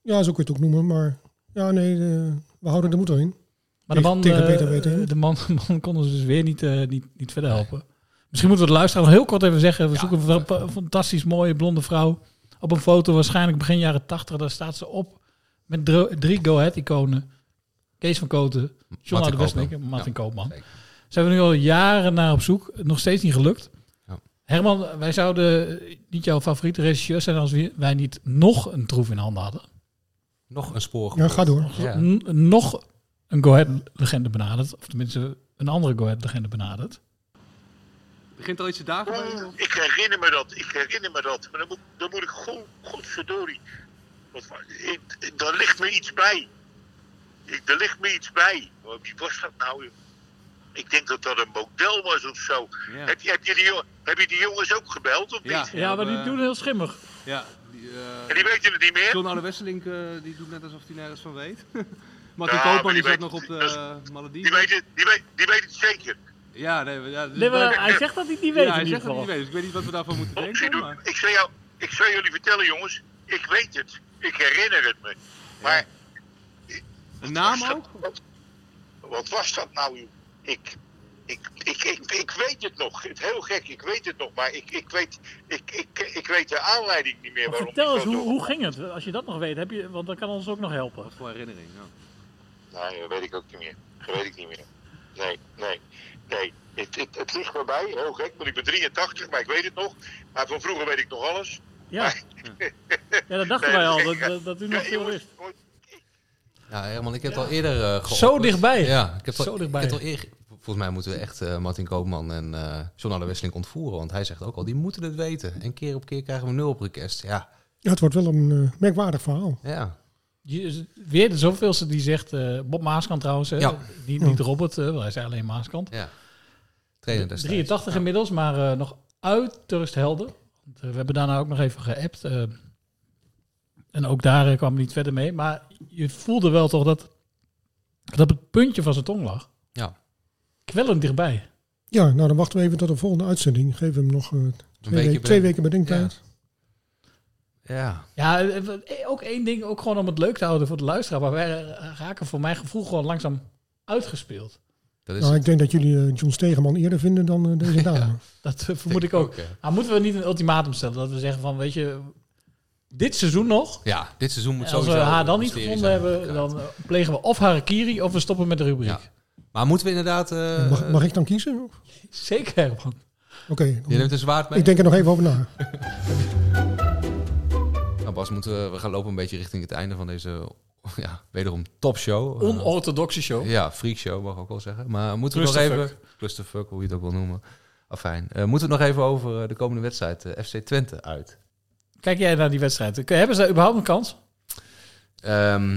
[SPEAKER 12] ja, zo kun je het ook noemen. Maar ja, nee, eh, we houden de moed erin.
[SPEAKER 2] Maar de
[SPEAKER 12] Tegen-
[SPEAKER 2] man,
[SPEAKER 12] tegen
[SPEAKER 2] eh,
[SPEAKER 12] beter weten. in.
[SPEAKER 2] de man, man kon ons dus weer niet, eh, niet, niet verder helpen. Misschien moeten we de luisteraar nog heel kort even zeggen. We zoeken een fa- fantastisch mooie blonde vrouw. Op een foto waarschijnlijk begin jaren 80. Daar staat ze op met dro- drie Go Ahead iconen. Kees van Koten, John
[SPEAKER 5] Martin
[SPEAKER 2] de Westnikker,
[SPEAKER 5] Koopman.
[SPEAKER 2] Martin
[SPEAKER 5] Ja,
[SPEAKER 2] Koopman. Zijn we nu al jaren naar op zoek, nog steeds niet gelukt. Herman, wij zouden niet jouw favoriete regisseur zijn als we- wij niet nog een troef in handen hadden.
[SPEAKER 5] Nog een spoor.
[SPEAKER 12] Ja, ga door.
[SPEAKER 5] Ja.
[SPEAKER 2] N- nog een Go Ahead-legende benaderd, of tenminste een andere Go Ahead-legende benaderd.
[SPEAKER 15] Begint al iets te dagen bij je?
[SPEAKER 16] Ik herinner me dat, ik herinner me dat. Maar dan moet, dan moet ik gewoon, godverdorie. Wat, wa- ik, ik- daar ligt me iets bij. Ik, er ligt me iets bij. Oh, Wie was dat nou? joh? Ik denk dat dat een model was of zo. Heb, je- heb, je die, jo- heb je die jongens ook gebeld of niet?
[SPEAKER 2] Ja, maar die doen heel schimmig.
[SPEAKER 15] Ja, die, eh,
[SPEAKER 16] En die weten het niet meer?
[SPEAKER 15] John Oude Wesseling eh, die doet net alsof hij nergens van weet. Martin
[SPEAKER 16] Ja, maar
[SPEAKER 15] Koopman
[SPEAKER 16] die
[SPEAKER 15] die zat
[SPEAKER 16] weet-
[SPEAKER 15] nog op de
[SPEAKER 16] dat is-
[SPEAKER 15] eh,
[SPEAKER 16] Die
[SPEAKER 15] Malediven.
[SPEAKER 16] weten die weet, die weet het zeker.
[SPEAKER 15] Ja, nee, maar ja, dus-
[SPEAKER 16] Nee, maar hij zegt dat hij het niet weet
[SPEAKER 15] Ja, hij
[SPEAKER 16] in
[SPEAKER 15] zegt
[SPEAKER 16] ieder
[SPEAKER 15] dat hij niet
[SPEAKER 16] geval.
[SPEAKER 15] weet, dus ik weet niet wat we daarvan moeten denken. Maar...
[SPEAKER 16] Ik zou, jou, ik zou jullie vertellen, jongens. Ik weet het. Ik herinner het me. Maar...
[SPEAKER 15] Een naam
[SPEAKER 16] ook? Wat, wat was dat nou? joh? Ik, ik, ik, ik, ik weet het nog. Het is heel gek. Ik weet het nog. Maar ik, ik, weet, ik, ik, ik weet de aanleiding niet meer
[SPEAKER 2] Maar
[SPEAKER 16] waarom.
[SPEAKER 2] vertel
[SPEAKER 16] ik
[SPEAKER 2] eens,
[SPEAKER 16] dat
[SPEAKER 2] hoe,
[SPEAKER 16] doe.
[SPEAKER 2] hoe ging het? Als je dat nog weet, heb je, want dat kan ons ook nog helpen.
[SPEAKER 15] Voor herinnering, ja.
[SPEAKER 16] Nee, dat weet ik ook niet meer. Dat weet ik niet meer. Nee, nee, nee. Het, het, het ligt me bij. Heel gek. Want ik ben 83, maar ik weet het nog. Maar van vroeger weet ik nog alles.
[SPEAKER 2] Ja. ja, dat dachten wij al, dat, dat, dat u nog veel wist.
[SPEAKER 5] Ja, Herman, ik heb het al eerder eh geopperd.
[SPEAKER 2] Zo dichtbij.
[SPEAKER 5] Ja, ik heb het al,
[SPEAKER 2] Zo dichtbij.
[SPEAKER 5] Ik heb het al eer- Volgens mij moeten we echt eh, Martin Koopman en eh John Allen Wesseling ontvoeren. Want hij zegt ook al, die moeten het weten. En keer op keer krijgen we nul op request. Ja,
[SPEAKER 12] Ja, het wordt wel een eh, merkwaardig verhaal.
[SPEAKER 5] ja.
[SPEAKER 2] Je- Weer de zoveelste die zegt, eh, Bob Maaskant trouwens, hè?
[SPEAKER 5] Ja.
[SPEAKER 2] Niet, niet Robert, eh, want hij zei alleen Maaskant.
[SPEAKER 5] Ja. Trainer destijds.
[SPEAKER 2] 83 inmiddels, maar eh, nog uiterst helder. Want, eh, we hebben daarna ook nog even geappt. eh, en ook daar eh, kwam hij niet verder mee. Maar je voelde wel toch dat, dat het puntje van zijn tong lag.
[SPEAKER 5] Ja.
[SPEAKER 2] Kwellend dichtbij.
[SPEAKER 12] Ja, nou dan wachten we even tot de volgende uitzending. Geef hem nog eh, twee,
[SPEAKER 2] weekje
[SPEAKER 12] weken, twee
[SPEAKER 2] bedenk-
[SPEAKER 12] weken bedenktijd.
[SPEAKER 5] Ja.
[SPEAKER 2] Ja, eh, eh, ook één ding, ook gewoon om het leuk te houden voor de luisteraar. Maar wij eh, raken voor mijn gevoel gewoon langzaam uitgespeeld.
[SPEAKER 5] Dat
[SPEAKER 12] nou, ik denk dat jullie eh, John Stegeman eerder vinden dan eh, deze dame.
[SPEAKER 2] Dat eh, vermoed ik ook. Maar moeten we niet een ultimatum stellen? Dat we zeggen van, weet je, dit seizoen nog.
[SPEAKER 5] Ja, dit seizoen moet
[SPEAKER 2] en als we
[SPEAKER 5] sowieso
[SPEAKER 2] haar dan
[SPEAKER 5] een
[SPEAKER 2] niet
[SPEAKER 5] mysterie
[SPEAKER 2] gevonden
[SPEAKER 5] zijn,
[SPEAKER 2] hebben, dan eh, plegen we of harakiri of we stoppen met de rubriek.
[SPEAKER 5] Maar moeten we inderdaad... eh,
[SPEAKER 12] mag, mag ik dan kiezen? Oké.
[SPEAKER 2] Zeker, Herman.
[SPEAKER 5] Je neemt een zwaard mee?
[SPEAKER 12] Ik denk er nog even over na.
[SPEAKER 5] Nou Bas, moeten we, we gaan lopen een beetje richting het einde van deze ja, wederom topshow.
[SPEAKER 2] Onorthodoxe show.
[SPEAKER 5] Ja, freakshow mag ik ook wel zeggen. Maar moeten we nog
[SPEAKER 2] Clusterfuck.
[SPEAKER 5] even... Clusterfuck, hoe je het ook wil noemen. Afijn. Eh, moeten we het nog even over eh, de komende wedstrijd eh, FC Twente uit?
[SPEAKER 2] Kijk jij naar die wedstrijd. K- Hebben ze daar überhaupt een kans?
[SPEAKER 5] Ehm,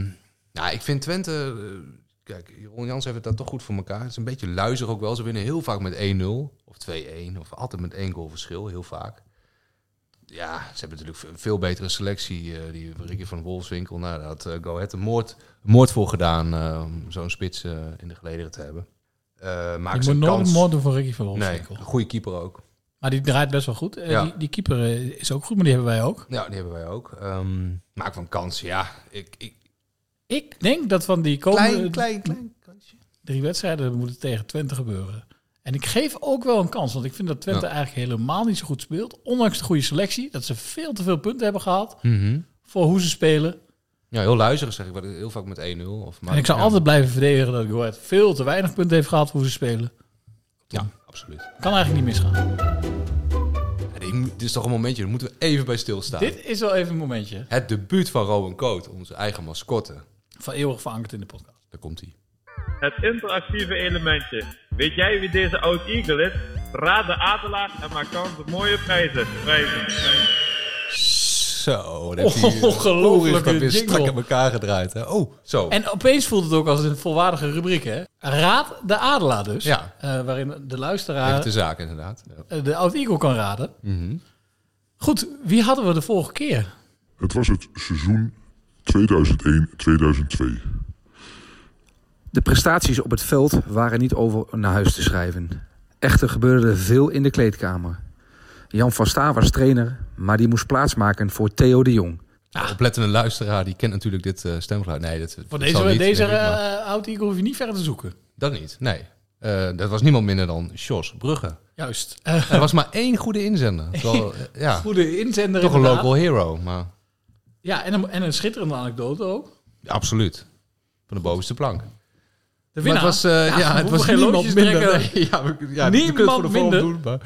[SPEAKER 5] nou, ik vind Twente... eh, kijk, Jeroen Jans heeft het daar toch goed voor elkaar. Het is een beetje luizig ook wel. Ze winnen heel vaak met 1-0 of 2-1. Of altijd met één goal verschil, heel vaak. Ja, ze hebben natuurlijk ve- een veel betere selectie. eh, die Ricky van Wolfswinkel, nou, daar had eh, Go Ahead een moord, moord voor gedaan... eh, om zo'n spits eh, in de gelederen te hebben. Eh maak
[SPEAKER 2] Ik
[SPEAKER 5] ze
[SPEAKER 2] moet
[SPEAKER 5] een
[SPEAKER 2] nooit
[SPEAKER 5] kans.
[SPEAKER 2] een moord doen voor Ricky van
[SPEAKER 5] Nee,
[SPEAKER 2] Wolfswinkel.
[SPEAKER 5] een goede keeper ook.
[SPEAKER 2] Maar die draait best wel goed. Eh,
[SPEAKER 5] Ja.
[SPEAKER 2] die, die keeper eh, is ook goed, maar die hebben wij ook.
[SPEAKER 5] Ja, die hebben wij ook. Ehm, maak van kans, ja. Ik, ik,
[SPEAKER 2] Ik denk dat van die komende
[SPEAKER 5] Klein, klein, klein
[SPEAKER 2] drie wedstrijden moeten tegen Twente gebeuren. En ik geef ook wel een kans, want ik vind dat Twente
[SPEAKER 5] Ja.
[SPEAKER 2] eigenlijk helemaal niet zo goed speelt. Ondanks de goede selectie, dat ze veel te veel punten hebben gehaald
[SPEAKER 5] Mhm.
[SPEAKER 2] voor hoe ze spelen.
[SPEAKER 5] Ja, heel luizerig zeg ik. wel. Heel vaak met 1-0. Of maar,
[SPEAKER 2] en ik zou
[SPEAKER 5] ja.
[SPEAKER 2] altijd blijven verdedigen dat Go Ahead veel te weinig punten heeft gehaald voor hoe ze spelen.
[SPEAKER 5] Ja, absoluut.
[SPEAKER 2] Kan eigenlijk niet
[SPEAKER 5] Nou.
[SPEAKER 2] misgaan.
[SPEAKER 5] Ja, dit, moet- dit is toch een momentje, daar moeten we even bij stilstaan.
[SPEAKER 2] Dit is wel even een momentje
[SPEAKER 5] Het debuut van Rowan Coat, onze eigen mascotte.
[SPEAKER 2] van eeuwig verankerd in de podcast.
[SPEAKER 5] Daar komt hij.
[SPEAKER 17] Het interactieve elementje. Weet jij wie deze oud Eagle is? Raad de Adelaar en maak kans op mooie prijzen. Prijzen.
[SPEAKER 5] Zo, dat heeft hij-
[SPEAKER 2] Ongelooflijke
[SPEAKER 5] Oeh, heeft dat weer
[SPEAKER 2] Oh, jingle.
[SPEAKER 5] strak in elkaar gedraaid. Hè? Oh, zo.
[SPEAKER 2] En opeens voelt het ook als een volwaardige rubriek, hè? Raad de Adelaar dus.
[SPEAKER 5] Ja.
[SPEAKER 2] Eh, waarin de luisteraar
[SPEAKER 5] Heeft de zaak inderdaad. Ja.
[SPEAKER 2] eh, de oud Eagle kan raden.
[SPEAKER 5] Mhm.
[SPEAKER 2] Goed, wie hadden we de vorige keer?
[SPEAKER 18] Het was het seizoen 2001-2002.
[SPEAKER 19] De prestaties op het veld waren niet over naar huis te schrijven. Echter gebeurde er veel in de kleedkamer. Jan van Staar was trainer, maar die moest plaatsmaken voor Theo de Jong.
[SPEAKER 5] De oplettende luisteraar, die kent natuurlijk dit eh, stemgeluid. Nee, dat,
[SPEAKER 2] Ah. Voor
[SPEAKER 5] dat
[SPEAKER 2] deze,
[SPEAKER 5] zal niet,
[SPEAKER 2] deze
[SPEAKER 5] denk ik, maar
[SPEAKER 2] eh, oud Eagle hoef je niet verder te zoeken.
[SPEAKER 5] Dat niet, nee. Eh, dat was niemand minder dan Jos Brugge.
[SPEAKER 2] Juist.
[SPEAKER 5] Er was maar één goede inzender. Terwijl, eh, ja,
[SPEAKER 2] Eh, Goede inzender
[SPEAKER 5] Toch een
[SPEAKER 2] inderdaad.
[SPEAKER 5] local hero, maar
[SPEAKER 2] Ja, en een, en een schitterende anekdote ook.
[SPEAKER 5] absoluut. Van de bovenste plank.
[SPEAKER 2] De
[SPEAKER 5] Maar
[SPEAKER 2] winnaar.
[SPEAKER 5] het was, eh, ja,
[SPEAKER 2] we
[SPEAKER 5] het
[SPEAKER 2] hoeven
[SPEAKER 5] was
[SPEAKER 2] geen
[SPEAKER 5] niemand
[SPEAKER 2] loodjes
[SPEAKER 5] minder.
[SPEAKER 2] trekken.
[SPEAKER 5] Nee, ja, we- ja, we kunnen het
[SPEAKER 2] niemand
[SPEAKER 5] voor de vorm
[SPEAKER 2] minder.
[SPEAKER 5] doen, maar-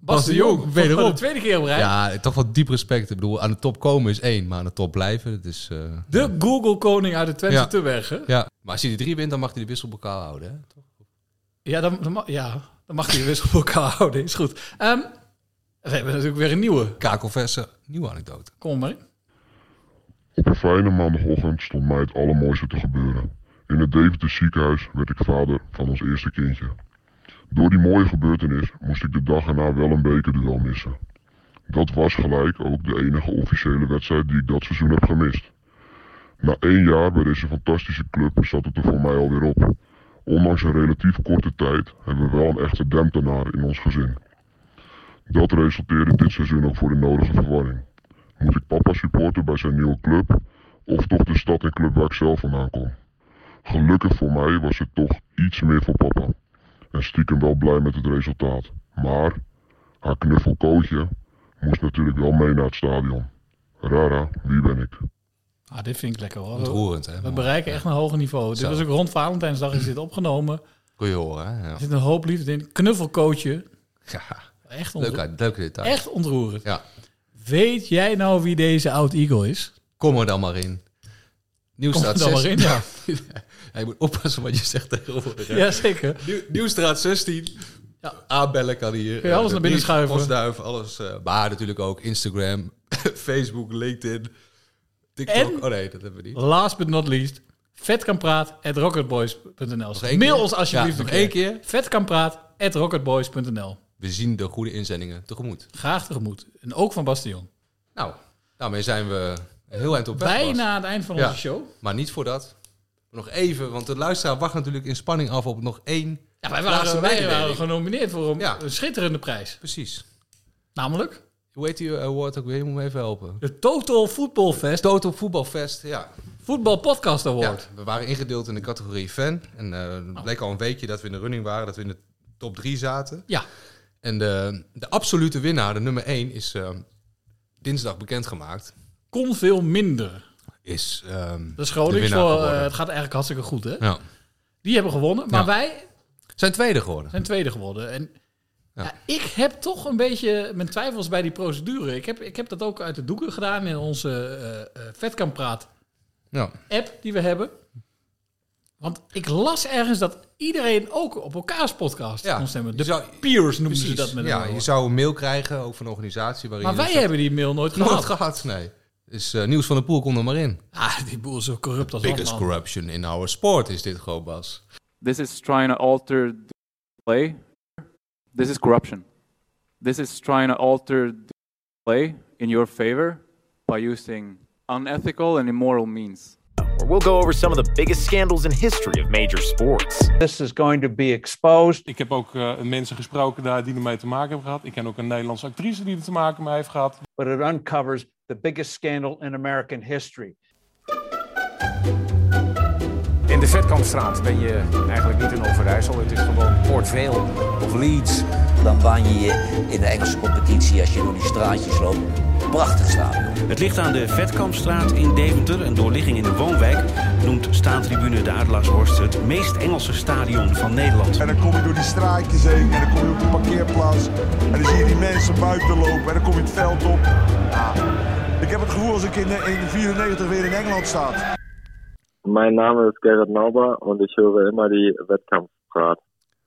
[SPEAKER 2] Bas de Jong, wederom. Voor de tweede keer op rij.
[SPEAKER 5] Ja, toch wel diep respect. Ik bedoel, aan de top komen is één, maar aan de top blijven, dat is... eh,
[SPEAKER 2] De Google-koning uit de Twente
[SPEAKER 5] ja.
[SPEAKER 2] Tebergen.
[SPEAKER 5] Ja, maar als hij de drie wint, dan mag hij de wisselbokaal houden, hè? Toch?
[SPEAKER 2] Ja, dan, dan, ma- ja, dan mag hij de wissel voor elkaar houden. Is goed. Ehm, we hebben natuurlijk weer een nieuwe.
[SPEAKER 5] Kakelverse, nieuwe anekdote.
[SPEAKER 2] Kom maar. in.
[SPEAKER 18] Op een fijne maandagochtend stond mij het allermooiste te gebeuren. In het Deventer ziekenhuis werd ik vader van ons eerste kindje. Door die mooie gebeurtenis moest ik de dag erna wel een bekerduel missen. Dat was gelijk ook de enige officiële wedstrijd die ik dat seizoen heb gemist. Na één jaar bij deze fantastische club zat het er voor mij alweer op. Ondanks een relatief korte tijd hebben we wel een echte Demtenaar in ons gezin. Dat resulteerde dit seizoen ook voor de nodige verwarring. Moet ik papa supporten bij zijn nieuwe club? Of toch de stad en club waar ik zelf vandaan kom? Gelukkig voor mij was het toch iets meer voor papa. En stiekem wel blij met het resultaat. Maar haar knuffelkootje moest natuurlijk wel mee naar het stadion. Rara, wie ben ik?
[SPEAKER 2] Ah, dit vind ik lekker hoor.
[SPEAKER 5] Ontroerend, hè,
[SPEAKER 2] We
[SPEAKER 5] man.
[SPEAKER 2] bereiken echt een hoger niveau.
[SPEAKER 5] Zo.
[SPEAKER 2] Dit was ook rond Valentijnsdag is dit opgenomen.
[SPEAKER 5] Kun je horen, hè? Ja.
[SPEAKER 2] Er zit een hoop liefde in. Knuffelcoachje. Echt
[SPEAKER 5] Leuk,
[SPEAKER 2] ontroerend.
[SPEAKER 5] uit- leuke detail.
[SPEAKER 2] Echt ontroerend.
[SPEAKER 5] Ja.
[SPEAKER 2] Weet jij nou wie deze oud-eagle is?
[SPEAKER 5] Kom er dan maar in. Nieuwstraat
[SPEAKER 2] Kom er dan
[SPEAKER 5] 16.
[SPEAKER 2] maar
[SPEAKER 5] Ja, je moet oppassen wat je zegt tegenwoordig. hè.
[SPEAKER 2] Jazeker.
[SPEAKER 5] Nieuw- Nieuwstraat 16. Aanbellen kan hier.
[SPEAKER 2] Kun je alles
[SPEAKER 5] Eh,
[SPEAKER 2] naar binnen
[SPEAKER 5] brief,
[SPEAKER 2] schuiven.
[SPEAKER 5] postduif, alles. eh, maar natuurlijk ook Instagram, Facebook, LinkedIn, TikTok.
[SPEAKER 2] En-
[SPEAKER 5] Oh nee, dat hebben we niet.
[SPEAKER 2] Last but not least, vet kan praat at rocketboys.nl.
[SPEAKER 5] één
[SPEAKER 2] Mail
[SPEAKER 5] keer.
[SPEAKER 2] ons alsjeblieft
[SPEAKER 5] Ja, nog
[SPEAKER 2] een
[SPEAKER 5] één
[SPEAKER 2] keer. Vet kan praat at rocketboys.nl.
[SPEAKER 5] We zien de goede inzendingen tegemoet.
[SPEAKER 2] Graag tegemoet. En ook van Bastion.
[SPEAKER 5] Nou, daarmee zijn we een heel eind op weg.
[SPEAKER 2] Bijna
[SPEAKER 5] Bas.
[SPEAKER 2] aan het eind van onze show.
[SPEAKER 5] Maar niet voordat. Nog even, want de luisteraar wacht natuurlijk in spanning af op nog één
[SPEAKER 2] Ja, wij
[SPEAKER 5] laatste
[SPEAKER 2] waren, wij
[SPEAKER 5] mededeling.
[SPEAKER 2] waren genomineerd voor een, een schitterende prijs.
[SPEAKER 5] Precies.
[SPEAKER 2] Namelijk?
[SPEAKER 5] Hoe heet die award ook weer? Je moet me even helpen.
[SPEAKER 2] De Total Football Fest.
[SPEAKER 5] Total Football Fest, ja.
[SPEAKER 2] Voetbal Podcast Award.
[SPEAKER 5] Ja, we waren ingedeeld in de categorie fan. En eh, het bleek al een weekje dat we in de running waren, dat we in de top 3 zaten.
[SPEAKER 2] Ja.
[SPEAKER 5] En de, de absolute winnaar, de nummer 1, is eh, dinsdag bekendgemaakt.
[SPEAKER 2] Kon veel minder.
[SPEAKER 5] Is, ehm,
[SPEAKER 2] Dat is
[SPEAKER 5] de
[SPEAKER 2] Gronings.
[SPEAKER 5] winnaar
[SPEAKER 2] Voor,
[SPEAKER 5] geworden.
[SPEAKER 2] eh, het gaat eigenlijk hartstikke goed, hè?
[SPEAKER 5] Ja.
[SPEAKER 2] Die hebben gewonnen. Maar
[SPEAKER 5] Ja.
[SPEAKER 2] wij
[SPEAKER 5] Zijn tweede geworden.
[SPEAKER 2] zijn tweede geworden. En ja, ik heb toch een beetje mijn twijfels bij die procedure. Ik heb, ik heb dat ook uit de doeken gedaan in onze eh eh, Vetkamp Praat
[SPEAKER 5] Ja.
[SPEAKER 2] app die we hebben. Want ik las ergens dat iedereen ook op elkaars podcast kon stemmen. De peers noemden ze dat met een
[SPEAKER 5] Ja,
[SPEAKER 2] woord.
[SPEAKER 5] je zou een mail krijgen, ook van een organisatie waarin...
[SPEAKER 2] Maar
[SPEAKER 5] je
[SPEAKER 2] wij
[SPEAKER 5] zegt-
[SPEAKER 2] hebben die mail nooit gehad.
[SPEAKER 5] Nooit gehad, nee. Dus eh, Nieuws van de Poel, kom er maar in.
[SPEAKER 2] Ah, die boel is zo corrupt als
[SPEAKER 5] Biggest
[SPEAKER 2] wat, man.
[SPEAKER 5] corruption in our sport is dit gewoon, Bas.
[SPEAKER 1] This is trying to alter the play. This is corruption. This is trying to alter the play in your favor by using unethical and immoral means.
[SPEAKER 3] where we'll go over some of the biggest scandals in history of major sports.
[SPEAKER 20] This is going to be exposed. Ik heb ook eh, mensen gesproken daar die ermee te maken hebben gehad. Ik ken ook een Nederlandse actrice die er te maken mee heeft gehad. But it uncovers the biggest scandal in American history.
[SPEAKER 21] In de Vetkampstraat ben je eigenlijk niet in Overijssel. Het is gewoon
[SPEAKER 22] Port Vale of Leeds. Dan baan je je in de Engelse competitie als je door die straatjes loopt. Prachtig stadion.
[SPEAKER 23] Het ligt aan de Vetkampstraat in Deventer, een doorligging in de woonwijk. Noemt staantribune de Adelaarshorst het meest Engelse stadion van Nederland.
[SPEAKER 24] En dan kom je door die straatjes heen en dan kom je op de parkeerplaats. En dan zie je die mensen buiten lopen en dan kom je het veld op. Ja, ik heb het gevoel als ik in 1994 weer in Engeland sta.
[SPEAKER 3] Mein Name ist Gerrit Nauber und ich höre immer die Wettkampfrat.